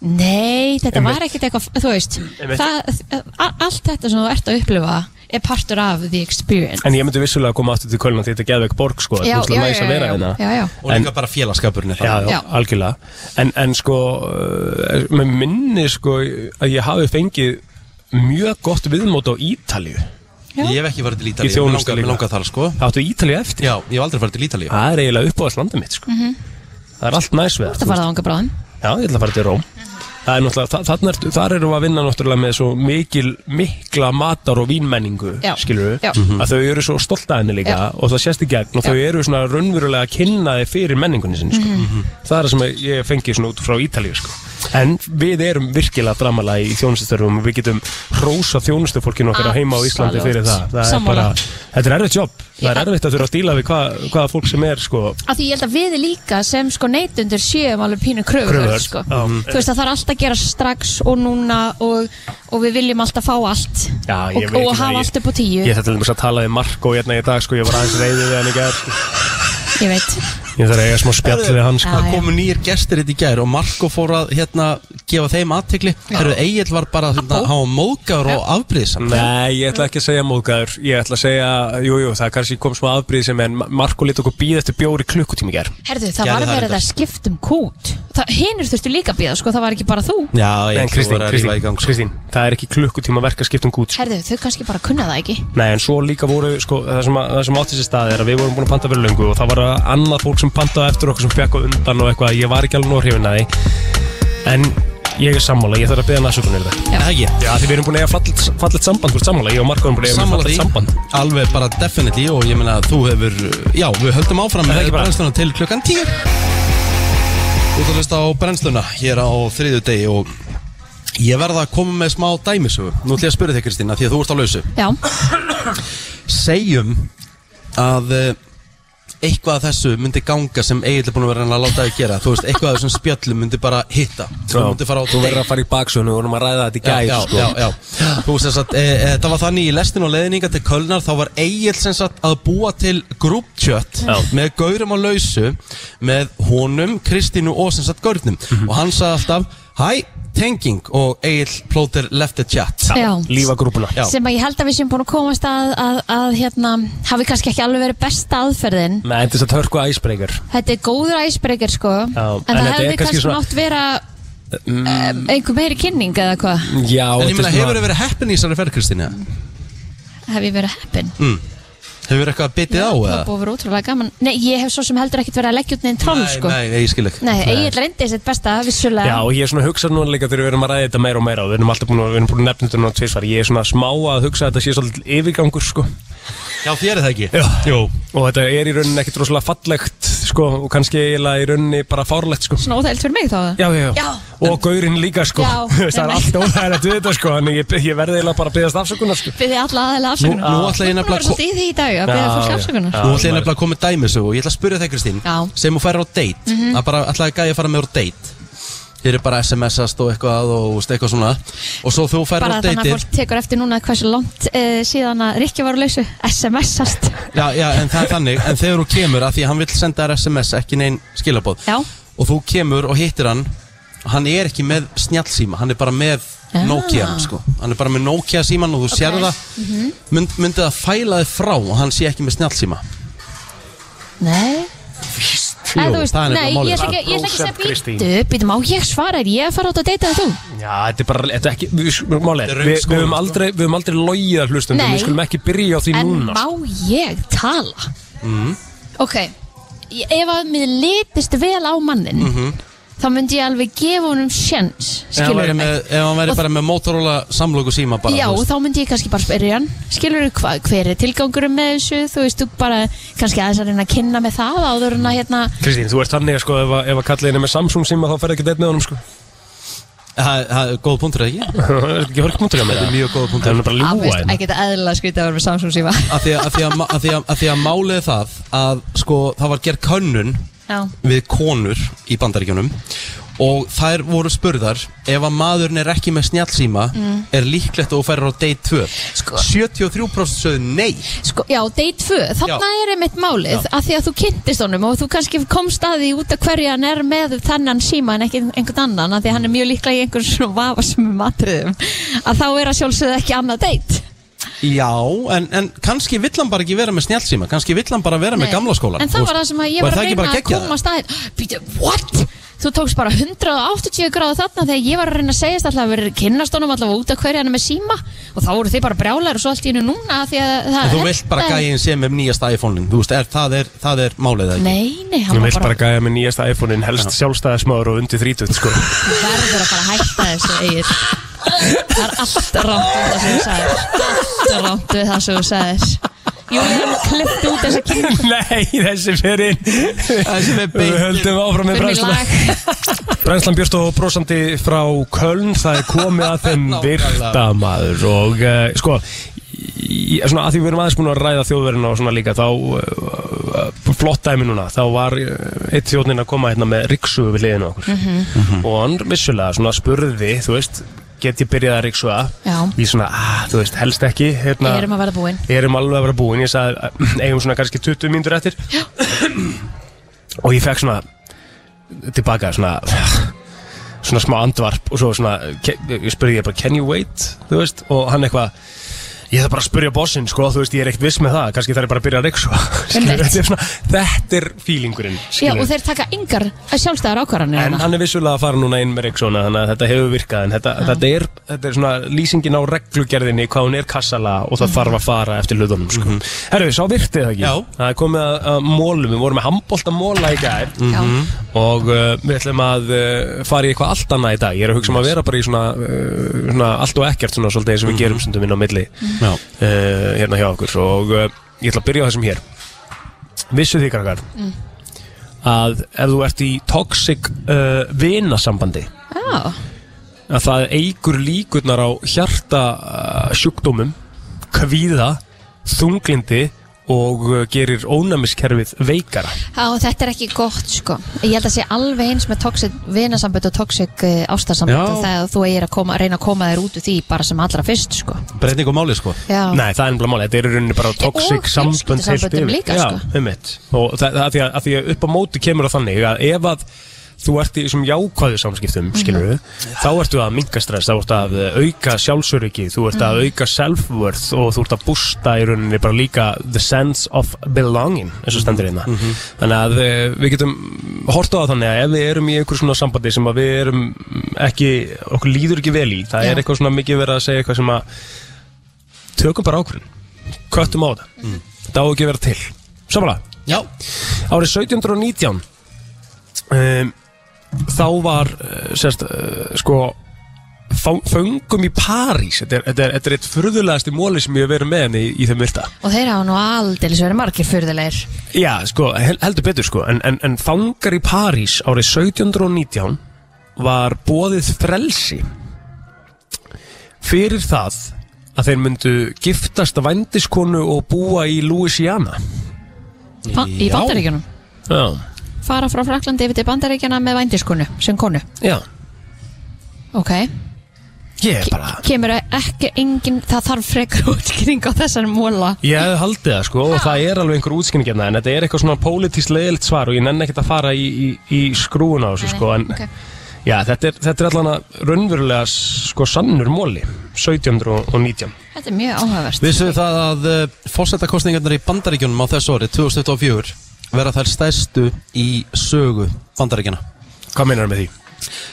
Speaker 4: Nei, þetta var ekkert eitthvað Þú veist, það, a- allt þetta sem þú ert að upplifa er partur af the experience
Speaker 3: En ég myndi vissulega að koma aftur til Kölna því þetta er geðveik borg sko, þetta er úrslega næs að vera hérna.
Speaker 4: já, já.
Speaker 2: Og líka bara félagskapurinn er
Speaker 3: Já,
Speaker 2: það.
Speaker 3: já,
Speaker 4: Já.
Speaker 3: algjörlega. En, en sko, uh, með minni sko að ég hafi fengið mjög gott viðmót á Ítalju.
Speaker 4: Já.
Speaker 2: Ég hef ekki farið til
Speaker 3: Í
Speaker 2: Ítalíu,
Speaker 3: þjónustu
Speaker 2: mér langar,
Speaker 3: líka.
Speaker 2: mér langar þar sko.
Speaker 3: Það áttu Ítalju eftir.
Speaker 2: Já, ég hef aldrei farið til Ítalíu.
Speaker 3: Það er eiginlega uppáðast landið mitt sko. Það er allt næs við
Speaker 4: Mhm. Þú ert að fara það ánga bráðum
Speaker 3: Já, ég ætla að fara til Róm Það er náttúrulega, þa- þarna ertu, þar erum við að vinna náttúrulega með svo mikil, mikla matar og vínmenningu,
Speaker 4: Já.
Speaker 3: skilur við
Speaker 4: Já. Mhm.
Speaker 3: að þau eru svo stolt að henni líka
Speaker 4: Já.
Speaker 3: og það sést í gegn og þau eru svona raunverulega kynnaði fyrir menningunni sinni,
Speaker 4: Mhm.
Speaker 3: sko. Það er það sem ég fengi svona út frá Ítalíu, sko En við erum virkilega framalega í þjónustustörfum og við getum hrósa þjónustufólkinu okkar heima á Íslandi fyrir það, það er
Speaker 4: Sammála.
Speaker 3: bara, Þetta er erfitt jobb, það er
Speaker 4: Ég-
Speaker 3: erfitt að þurfa að díla við hva, hvaða fólk sem er, sko,
Speaker 4: að því ég held að við líka sem sko neytundur séum alveg pínu kröfur
Speaker 3: Kröfuhörð,
Speaker 4: sko.
Speaker 3: já. Mm.
Speaker 4: þú veist að það er allt að gera strax og núna og, og við viljum alltaf fá allt
Speaker 3: Já, ég
Speaker 4: og,
Speaker 3: veit ekki það,
Speaker 4: og hafa
Speaker 3: ég-
Speaker 4: allt upp á tíu
Speaker 3: Ég þetta lefum að tala við Marko hérna í dag sko, ég var aðeins reyðið við hann í gær sko.
Speaker 4: ég veit
Speaker 3: Ég þarf að eiga smá spjall við hann sko.
Speaker 4: Já,
Speaker 2: Það
Speaker 4: já.
Speaker 2: komu nýjir gestir hérna í gær og Marko fór að hérna gefa þeim aðtegli Þegar Egil var bara hérna, hann var móðgar og afbrýðsam
Speaker 3: Nei, ég ætla ekki að segja móðgæður Ég ætla að segja, jújú, jú, það kannski kom smá afbríð sem en Marko lit okkur býð eftir bjóri klukkutími í gær
Speaker 4: Herðu, það
Speaker 2: Gerðu
Speaker 4: var
Speaker 2: það
Speaker 4: verið
Speaker 2: reyndar.
Speaker 4: að skipta um kút Það- Hinir þurftu líka að bíða, sko, það var ekki bara þú
Speaker 2: Já, ég
Speaker 3: En
Speaker 2: þú
Speaker 3: Kristín,
Speaker 2: voru að rífa í
Speaker 3: Kristín,
Speaker 2: gang, sko.
Speaker 3: Kristín, það er ekki klukkutíma verka skiptum gút sko.
Speaker 4: Herðu, þau kannski bara kunna það ekki
Speaker 3: Nei, en svo líka voru, sko, það sem, að- það sem átti sér stað er að við vorum búin að panta fyrir löngu og það var að annað fólk sem pantaði eftir okkur sem fekk á undan og eitthvað, ég var ekki alveg nóg hrifin að því En ég er sammála, ég þarf að beða næsugunir þetta
Speaker 2: Það ekki
Speaker 3: Já, því við erum búin að eiga fallet, fallet samband, þú ert sammála, ég og Marko erum búin að eiga mjög
Speaker 2: Sammála því,
Speaker 3: fallegt samband
Speaker 2: alveg bara definitely og ég meina að þú hefur, já við höldum áfram
Speaker 3: það
Speaker 2: með
Speaker 3: ekki bara?
Speaker 2: brennsluna til klukkan 10 Þú ert að hlusta á brennsluna hér á þriðju degi og ég verða að koma með smá dæmisögu Nú ætlum ég að spyrja þig Kristín að því að þú ert á lausu
Speaker 4: Já,
Speaker 2: Segjum að eh, eitthvað af þessu myndi ganga sem eiginlega búin að vera að reyna að láta þig gera Þú veist, eitthvað af þessum spjöllum myndi bara hitta Þú myndi fara á
Speaker 3: Þú verður að fara í baksönu, við vorum að ræða þetta í
Speaker 2: Já,
Speaker 3: gæð,
Speaker 2: já,
Speaker 3: sko
Speaker 2: já, já. Þú veist þess að e, e, það var þannig í lestin og leðninga til Kölnar þá var Egil sem sagt að búa til grúptjött með gaurum og lausu með honum, Kristínu og sem sagt gaurnum
Speaker 3: Mhm.
Speaker 2: og hann sagði alltaf Hæ, tenging og Egil plóter left a chat
Speaker 4: já,
Speaker 3: Lífa grúpuna
Speaker 2: Já.
Speaker 4: Sem að ég held að við séum búin að komast að, að, að hérna, hafi kannski ekki alveg verið besta aðferðin
Speaker 3: Nei, þetta er þess að törku æsbreykar
Speaker 4: Þetta er góður æsbreykir sko En
Speaker 3: en
Speaker 4: það
Speaker 3: þetta er
Speaker 4: hefði
Speaker 3: kannski
Speaker 4: kannski
Speaker 3: svona-
Speaker 4: mátt vera um, einhver meiri kynning eða hvað
Speaker 3: Já,
Speaker 2: En ég
Speaker 3: þetta
Speaker 2: meina,
Speaker 3: er
Speaker 2: hefur þið verið heppin í þessari ferð, Kristínu?
Speaker 4: Hef ég verið heppin
Speaker 2: Hefur þið eitthvað bitið á
Speaker 4: Það
Speaker 2: eða?
Speaker 4: búið að vera ótrúlega gaman Nei, ég hef svo sem heldur ekkert verið að leggja út neðin troll sko
Speaker 2: Nei, nei, ég skil ekki
Speaker 4: Nei, Egil reyndi sitt besta vissulega
Speaker 3: Já, og ég er svona að hugsa núna líka þegar við erum að ræða þetta meira og meira og við erum alltaf búin að, við erum búin að nefna þetta núna tvisvar Ég er svona smá að hugsa að þetta sé svolítið yfirgangur, sko
Speaker 2: Já, þér er það ekki
Speaker 3: Já, Jó. og þetta er í rauninni ekkit rosalega fallegt, sko og kannski eiginlega í rauninni bara fárlegt, sko
Speaker 4: Svona óþægilt fyrir mig þá
Speaker 3: Já, já, já,
Speaker 4: Já.
Speaker 3: og gaurinn líka sko
Speaker 4: Já,
Speaker 3: Það er
Speaker 4: nei, nei.
Speaker 3: allt óþægilegt við þetta sko Þannig ég, ég verði eiginlega bara að byggast afsökunar sko
Speaker 4: Byrði alla aðeila afsökunar
Speaker 2: Nú- nú ætla ég
Speaker 4: Þú ert
Speaker 2: nefnilega
Speaker 4: búin að vera svolítið í því í dag að byrða
Speaker 3: Já,
Speaker 4: fólk
Speaker 3: já.
Speaker 4: afsökunar
Speaker 3: Já.
Speaker 2: Nú ætla ég nefnilega að koma með dæmisögu og ég ætla að spyrja það Kristín
Speaker 4: Já. Mhm.
Speaker 2: sem þú færir á date að bara ætlaði gæja að fara með úr date þeir eru bara SMS-ast og eitthvað og veist, eitthvað svona og svo þú færir
Speaker 4: Bara
Speaker 2: á
Speaker 4: þannig að
Speaker 2: date
Speaker 4: fólk tekur eftir núna hversu langt uh, síðan að Rikki var á lausu SMS-ast
Speaker 2: já, já, en það er þannig, en þegar þú kemur að því að hann vil senda þér SMS, ekki neinn skilaboð
Speaker 4: Já.
Speaker 2: og þú kemur og hittir hann hann er ekki með snjallsíma hann er bara með
Speaker 4: Ah.
Speaker 2: Nokia sko. hann er bara með Nokia síman og þú okay. sér það
Speaker 4: Mhm.
Speaker 2: mynd, myndi það fæla þig frá og hann sé ekki með snjallsíma
Speaker 4: Nei Nei,
Speaker 2: Jú,
Speaker 4: þú veist,
Speaker 2: það er
Speaker 4: nei,
Speaker 2: nefnilega málið.
Speaker 4: ég ætla ekki ég ætla ekki
Speaker 3: Prósent,
Speaker 4: að
Speaker 3: Kristín.
Speaker 4: segja býtu Býtu, má ég svara þér, ég er að fara út að deyta en þú
Speaker 3: Já, þetta er bara, þetta er ekki, við, við, málega,
Speaker 2: Þetta er
Speaker 3: við,
Speaker 2: röng
Speaker 3: við,
Speaker 2: skoðun,
Speaker 3: höfum
Speaker 2: sko.
Speaker 3: aldrei, við höfum aldrei logið að hlustum,
Speaker 4: Nei.
Speaker 3: við skulum ekki byrja á því
Speaker 4: En
Speaker 3: núna. sko.
Speaker 4: má ég tala
Speaker 2: Mhm.
Speaker 4: Ok, ég- ef að mér litist vel á mannin Þá myndi ég alveg gefa honum sjens
Speaker 2: ef Mhm. hann eh, væri,
Speaker 4: Skilur
Speaker 2: með,
Speaker 4: mig
Speaker 2: ef hann væri
Speaker 4: Og-
Speaker 2: bara með Motorola samlóku síma bara,
Speaker 4: Já,
Speaker 2: þú veist.
Speaker 4: þá myndi ég kannski bara spyrja hann Skilur þú hvað, hver er tilgangurum með þessu Þú veist, þú bara kannski aðeins að reyna að kynna með það Áður en að hérna
Speaker 3: Kristín, þú ert þannig að sko, ef, að- ef að kalla henni með Samsung síma þá ferði ekki deitt með honum sko.
Speaker 2: Það það er góð punktur, eða ekki?
Speaker 3: Það er ekki hörk punktur hjá mér.
Speaker 2: Þetta er mjög góð punktur.
Speaker 3: Það er nú bara hérna. að ljúa
Speaker 4: Áveist,
Speaker 3: henni.
Speaker 4: Ah, ekki þetta eðlilega skrítið að vera með Samsung síma
Speaker 2: Af því að- af því að ma- af því að- af því að málið er það að sko, það var gerð könnun
Speaker 4: Já,
Speaker 2: við konur í bandaríkjunum og þær voru spurðar ef að maðurinn er ekki með snjallsíma er líklegt að þú færir á date 2
Speaker 4: Mm. Sko-
Speaker 2: 73% sögðu nei
Speaker 4: sko, já, day 2 Þarna er einmitt málið,
Speaker 2: Já.
Speaker 4: af því að þú kynntist honum og þú kannski komst að því út af hverju hann er með þennan síma en ekki einhvern annan, af því að hann er mjög líklega í einhvern svona vafasum matriðum að þá er að sjálfsögðu ekki annað date
Speaker 2: Já, en, en kannski vill hann bara ekki vera með snjálfsíma Kannski vill hann bara vera
Speaker 4: Nei.
Speaker 2: með gamla skólan
Speaker 4: En það var það sem að ég var að reyna að koma að staðin Býtu, what? Þú tókst bara 180 gráðu þarna þegar ég var að reyna að segja alltaf að vera kynnast honum allavega út af hverja hann er með síma og þá voru þið bara brjálar og svo allt í hennu núna af því að það
Speaker 2: En þú
Speaker 4: hentaði-
Speaker 2: vilt bara gæðin sem er nýjasta iPhone-in Þú veist, er, það, er, það er málið það ekki
Speaker 4: Nei, nei, hann
Speaker 3: Hún
Speaker 4: var
Speaker 3: vill bara
Speaker 4: bara
Speaker 3: gæja með nýjasta iPhone-in, helst sjálfstæðismáður og undir 30 sko.
Speaker 4: verður að fara að hætta þessu eigir Það er allt rámt við það sem þú sagðir Allt rámt við það sem þú sagðir Jú, ég hef klippt út þessu kynni
Speaker 3: Nei, þessi fyrir
Speaker 2: Það sem er
Speaker 3: Við
Speaker 2: beint
Speaker 3: höldum áfram með
Speaker 4: Fyrir mig
Speaker 3: brænslan
Speaker 4: lag
Speaker 3: Brænslan Björst og brosandi frá Köln Það er komið að þeim
Speaker 2: Nákvæmlega.
Speaker 3: virta maður Og uh, sko í, svona, að því við erum aðeins búin að ræða þjóðverðina og svona líka þá uh, flott dæmi núna, þá var uh, eitt þjóðnin að koma hérna með riksu við liðinu okkur
Speaker 4: Mhm.
Speaker 3: og hann vissulega svona spurði, þú veist get ég byrjað að riksuða
Speaker 4: Já.
Speaker 3: ég svona, að, þú veist, helst ekki hérna,
Speaker 4: Erum að verða búin
Speaker 3: erum alveg að vera búin ég sagði, eigum svona kannski 20 mínútur eftir og ég fekk svona tilbaka svona svona smá andvarp og svo svona ke- ég spurði ég bara, can you wait þú veist, og hann eitthvað ég þarf bara að spurja bossinn, sko, þú veist, ég er ekkert viss með það kannski þarf ég bara að byrja að reyksa
Speaker 4: Einmitt.
Speaker 3: þetta er svona, þetta er feelingurinn
Speaker 4: Já,
Speaker 3: skilurðu.
Speaker 4: og þeir taka engar sjálfstæðar ákvarðanir
Speaker 3: En
Speaker 4: hérna.
Speaker 3: hann er vissulega að fara núna inn með Rexona þannig að þetta hefur virkað en þetta, þetta, er, þetta er svona lýsingin á reglugerðinni hvað hún er kassala og það þarf að fara eftir hlutunum sko. Herru, sá virtið það ekki?
Speaker 2: Já.
Speaker 3: Það er komið að, að mólum, við vorum með handbólt að móla í gær
Speaker 4: Já.
Speaker 3: og uh, við ætlum að uh, fara í eitthvað allt annað í dag ég er að hugsa um að vera bara í svona, uh, svona allt og ekkert svona svolítið eins og við gerum stundum inn á milli
Speaker 2: Já.
Speaker 3: uh, hérna hjá okkur og uh, ég ætla að byrja á þessum hér vissu því krakkar að ef þú ert í toxic uh, vinasambandi
Speaker 4: Já,
Speaker 3: að það eigur líkurnar á hjarta uh, sjúkdómum kvíða, þunglindi og uh, gerir ónæmiskerfið veikara
Speaker 4: Já, og þetta er ekki gott sko Ég held að sé alveg eins með toxic vinasambönd og toxic uh, ástarsambönd
Speaker 2: Já.
Speaker 4: þegar þú eigir að koma, reyna að koma þér út úr því bara sem allra fyrst sko
Speaker 2: Breyting og málið sko
Speaker 4: Já,
Speaker 3: Nei, það er ennbla máli, þetta er í rauninni bara
Speaker 4: Og
Speaker 3: toxic sambönd heilt
Speaker 4: fjölskyldusamböndum
Speaker 3: yfir.
Speaker 4: líka,
Speaker 3: Já,
Speaker 4: sko.
Speaker 3: einmitt Og það, það, að, því að, að því að upp á móti kemur það þannig að ef að þú ert í þessum jákvæðu
Speaker 4: Mhm.
Speaker 3: samskiptum, skilur við þá ertu að minka stress, þá ertu að eh, auka sjálfsöryggi, þú ert
Speaker 4: Mhm.
Speaker 3: að auka self-worth og þú ert að bústa í rauninni bara líka the sense of belonging eins og stendur hérna
Speaker 4: Mhm.
Speaker 3: þannig að eh, við getum hort á það þannig að ef við erum í einhver svona sambandi sem að við erum ekki, okkur líður ekki vel í það
Speaker 4: Já.
Speaker 3: er eitthvað svona mikið verið að segja eitthvað sem að tökum bara ákvörðin köttum á það mm. þetta á ekki að vera til samanlega,
Speaker 2: Já,
Speaker 3: árið 1719 um, þá var eh, sérst, uh, sko fá- föngum í París þetta er, þetta er, þetta er eitt furðulegasti móli sem ég hef verið með henni í, í þeim virta
Speaker 4: og þeir hafa nú aldeilis verið margir fyrðulegir
Speaker 3: já, sko, hel- heldur betur sko en, en, en fangar í París árið 1719 var bóðið frelsi fyrir það að þeir myndu giftast vændiskonu og búa í Louisiana
Speaker 4: í
Speaker 2: Já.
Speaker 4: bandaríkjunum
Speaker 3: Já,
Speaker 4: Fara frá Fraklandi yfir til bandaríkjana með vændiskonu sem konu
Speaker 3: já
Speaker 4: Ok,
Speaker 3: Ég er bara
Speaker 4: kemur ekki engin, það þarf frekar útskýring á þessar móla
Speaker 3: Ég hefði haldið það sko og það er alveg einhver útskynningarna en þetta er eitthvað svona pólitískt leiðilegt svar og ég nenni ekkert að fara í, í, í skrúun á þessu sko en
Speaker 4: Ok.
Speaker 3: já, þetta er, þetta er allan að raunverulega sko sannur móli 1719
Speaker 4: Þetta er mjög áhugavert
Speaker 2: Vissuðu það að uh, fórsetakostningarnar í Bandaríkjunum á þessu ári 2024 verða þær stærstu í sögu Bandaríkjana
Speaker 3: Hvað meinar með því?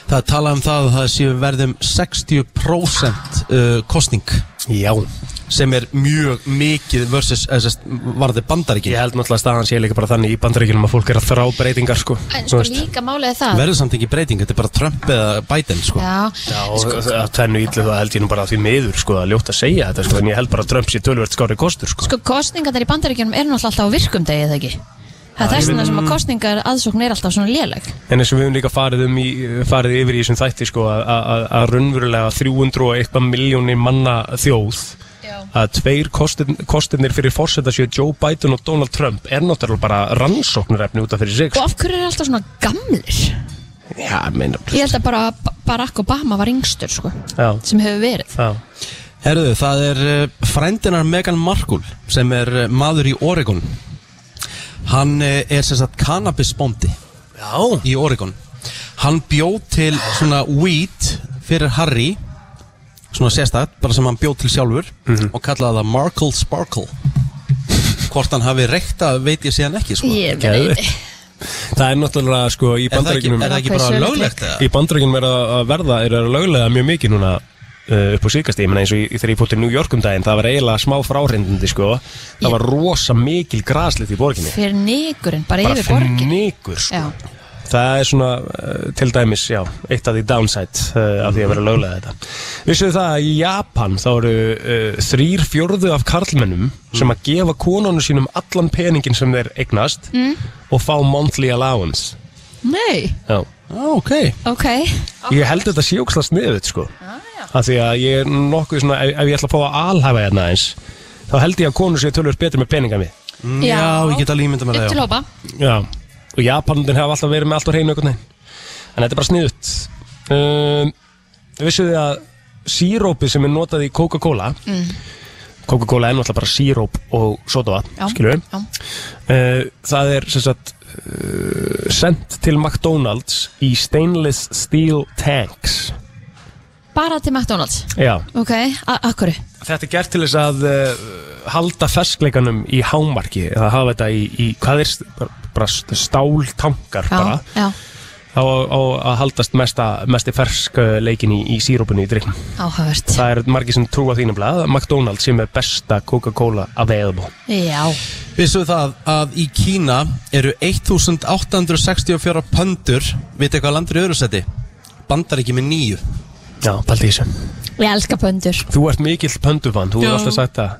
Speaker 2: Það er talað um það að það séu verðum 60% uh, kostning
Speaker 3: Já
Speaker 2: sem er mjög mikið versus eh, sest, varði
Speaker 3: Ég
Speaker 2: Bandaríkjun
Speaker 3: held náttúrulega að staðan sé líka bara þannig í bandaríkjunum að fólk er að þrá breytingar sko Þú
Speaker 4: En sko
Speaker 3: veist.
Speaker 4: líka málið er það
Speaker 2: verður samt ekki breyting, þetta er bara Trump eða Biden sko.
Speaker 4: Já,
Speaker 3: Já, sko, það tvennu ítlu það held ég nú bara því miður sko að ljótt að segja þetta sko en ég held bara að Trump sé tölvert skári kostur sko
Speaker 4: Sko kostningarnar í bandaríkjunum er náttúrulega alltaf á virkum degi eða ekki Það er þess vegna sem að kostningar aðsókn er alltaf svona léleg
Speaker 3: En eins og við höfum líka farið, um í, farið yfir í þessum þætti sko, að- að að raunverulega 300 og eitthvað miljónir manna þjóð
Speaker 4: Já.
Speaker 3: að tveir kostin, kostinir fyrir fórseta séu Joe Biden og Donald Trump er náttúrulega bara rannsóknarefni út af fyrir sig sko.
Speaker 4: Og af hverju er alltaf svona gamlir?
Speaker 3: Já, meina
Speaker 4: Ég held að bara B- Barack Obama var yngstur sko
Speaker 3: Já,
Speaker 4: sem hefur verið
Speaker 3: já,
Speaker 2: Herðu, það er uh, frændinar Megan Markle sem er uh, maður í Oregon Hann uh, er sem sagt cannabisbóndi
Speaker 3: já.
Speaker 2: í Oregon Hann bjóð til svona weed fyrir Harry svona sérstakt, bara sem hann bjóð til sjálfur og kallaði það Markle Sparkle hvort hann hafi reykta veit ég síðan ekki sko.
Speaker 4: Ég
Speaker 3: Geðveikt.
Speaker 4: veit
Speaker 3: Það er náttúrulega sko í
Speaker 2: er, það ekki,
Speaker 3: bandaríkinum
Speaker 2: er það ekki bara
Speaker 4: Hversu
Speaker 2: löglegt eða?
Speaker 3: Í bandaríkinum er að að verða, er að löglega mjög mikið núna uh, upp á síkast ég menna eins og í, þegar ég fótt til New York um daginn það var eiginlega smá fráhrindindi sko það var rosa mikil graslið í borginni
Speaker 4: Fyrir nýgurinn, bara
Speaker 3: bara
Speaker 4: yfir borgin
Speaker 3: fnikur sko.
Speaker 4: Já,
Speaker 3: það er svona uh, til dæmis já, eitt af því downside uh, af því að vera löglega þetta vissuðu það að í Japan þá eru uh, þrýr fjörðu af karlmennum sem að gefa konunum sínum allan peningin sem þeir eignast og fá monthly allowance
Speaker 4: nei,
Speaker 3: já.
Speaker 2: Ah, ok,
Speaker 4: ok
Speaker 3: ég held þetta sé óksla sniðið sko af því að ég er nokkuð svona ef, ef ég ætla að fá að alhæfa hérna eins þá held ég að konur sé tölvöld betur með peninga við
Speaker 2: já, ég get alveg ímynda með
Speaker 4: Upp
Speaker 2: það
Speaker 4: til
Speaker 2: já.
Speaker 4: hópa
Speaker 3: Já, og Japanundin hefur alltaf verið með allt á hreinu einhvern veginn En þetta er bara sniðut um, Vissuð þið að sírópi sem er notað í Coca-Cola Coca-Cola er náttúrulega bara síróp og
Speaker 4: Já.
Speaker 3: sotavatn, skilur við
Speaker 4: Já.
Speaker 3: Það er sem sagt uh, sendt til McDonalds í stainless steel tanks
Speaker 4: Bara til McDonalds
Speaker 3: Já,
Speaker 4: Ok, a- akkur
Speaker 3: þetta er gert til þess að uh, halda ferskleikanum í hámarki eða hafa þetta í, í hvað er st- bara, bara st- stáltankar bara
Speaker 4: Já, já,
Speaker 3: þá á- á að haldast mesta, mesti fersk uh, leikin í, í sírópunni í drikknum.
Speaker 4: áhugavert
Speaker 3: Það er margir sem trúa þínum blað að McDonalds sem er besta Coca-Cola available.
Speaker 4: Já,
Speaker 2: Vissu það að í Kína eru 1864 pöndur Vitið hvað landur í öðru seti? Bandaríki með nýju
Speaker 3: Já, paldi þessu.
Speaker 4: ég elska pöndur
Speaker 3: Þú ert mikill pöndufann, þú
Speaker 4: Já.
Speaker 3: hefur alltaf sagt það.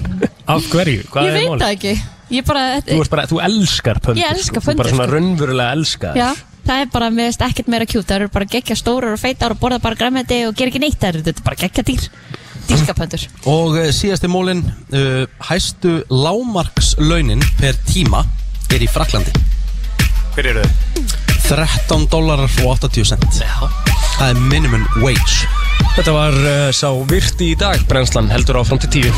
Speaker 3: Af hverju? Hvað
Speaker 4: Ég
Speaker 3: er
Speaker 4: veit
Speaker 3: málið?
Speaker 4: það ekki Ég bara,
Speaker 3: Þú, ert bara, þú elskar pöndur.
Speaker 4: Ég elska
Speaker 3: sko. Þú
Speaker 4: pöndur,
Speaker 3: bara svona
Speaker 4: sko.
Speaker 3: raunverulega elskar.
Speaker 4: já Það er bara, mér veist ekkert meira kjút, það eru bara geggja stórar og feitar og borða bara græmiti og gera ekki neitt, það eru þetta er bara geggja dýr, dýrskapöndur.
Speaker 2: Og eh, síðasti mólin uh, Hæstu lámarkslaunin per tíma er í Fraklandi
Speaker 3: Hver eru þau?
Speaker 2: 13 dólarar og 80 cent Já. Það er minimum wage
Speaker 3: Þetta var uh, sá virti í dag, brennslan heldur áfram til tíu.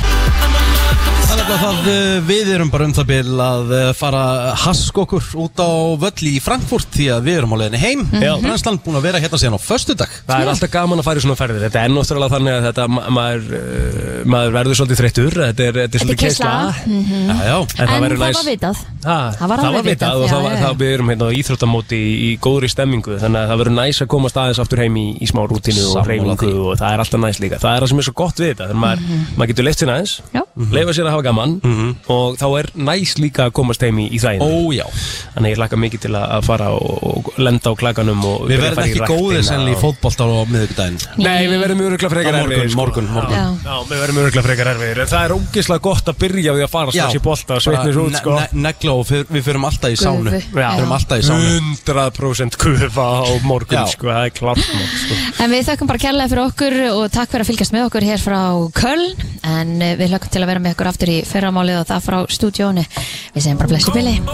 Speaker 2: Það er bara það eh, við erum bara um það bil að eh, fara hask okkur út á völl í Frankfurt því að við erum á leiðinni heim mm
Speaker 3: Mhm.
Speaker 2: -hmm. Brænslan búin að vera hérna síðan á föstudag
Speaker 3: Það er alltaf gaman að fara í svona ferðir Þetta er náttúrulega þannig að þetta ma- maður, uh, maður verður svolítið þreyttur Þetta er, þetta er svolítið
Speaker 4: keyrsla.
Speaker 3: keisla
Speaker 2: mm. Já, já
Speaker 3: En það
Speaker 4: En
Speaker 3: væri
Speaker 4: það
Speaker 3: næs-
Speaker 4: var vitað.
Speaker 3: Ha,
Speaker 4: Það var alveg vitað,
Speaker 3: og
Speaker 4: já,
Speaker 3: það, var,
Speaker 4: já, já.
Speaker 3: það við erum hérna á íþróttamóti í, í góðri stemmingu þannig að það verður næs að komast aðeins aftur heim í, í smá rútinu og
Speaker 2: Sammála
Speaker 3: reyningu
Speaker 2: því.
Speaker 3: og það er alltaf næs líka það er það sem er svo gott við þetta þannig að maður, maður getur leitt sér aðeins
Speaker 4: Mhm. Já.
Speaker 3: leifa sér að hafa gaman og þá er næs líka að komast heim í, í þæginu
Speaker 2: Mhm. Ó já
Speaker 3: þannig að ég hlakka mikið til að að fara og, og lenda á klakanum og
Speaker 2: Við
Speaker 3: byrja að
Speaker 2: verðum
Speaker 3: fara í
Speaker 2: ekki
Speaker 3: ræktina
Speaker 2: góðir sennilega í
Speaker 3: og-
Speaker 2: fótbolta á miðugdæðin
Speaker 3: Nei, við verðum öruglega frekar
Speaker 2: Á morgun,
Speaker 3: erfiðir sko.
Speaker 2: morgun, morgun.
Speaker 3: Já,
Speaker 4: Já.
Speaker 3: já við verðum öruglega frekar erfiðir En Það er ógeðslega gott að byrja við að fara strax í bolta og sveitnir svo út sko
Speaker 2: Negla og fyr, við fyrum alltaf í sánu
Speaker 4: Gufu.
Speaker 2: Við fyrum alltaf í sánu
Speaker 3: 100% kufa á morgun
Speaker 2: Já.
Speaker 3: sko, það er klart mál sko.
Speaker 4: En við þökkum bara kærlega fyrir okkur og takk fyrir að fylgjast með okkur hér frá Köln en eh, við hlökkum til að vera með okkur aftur í fyrramálið og það frá stúdíónu. Við segjum bara blessu bili.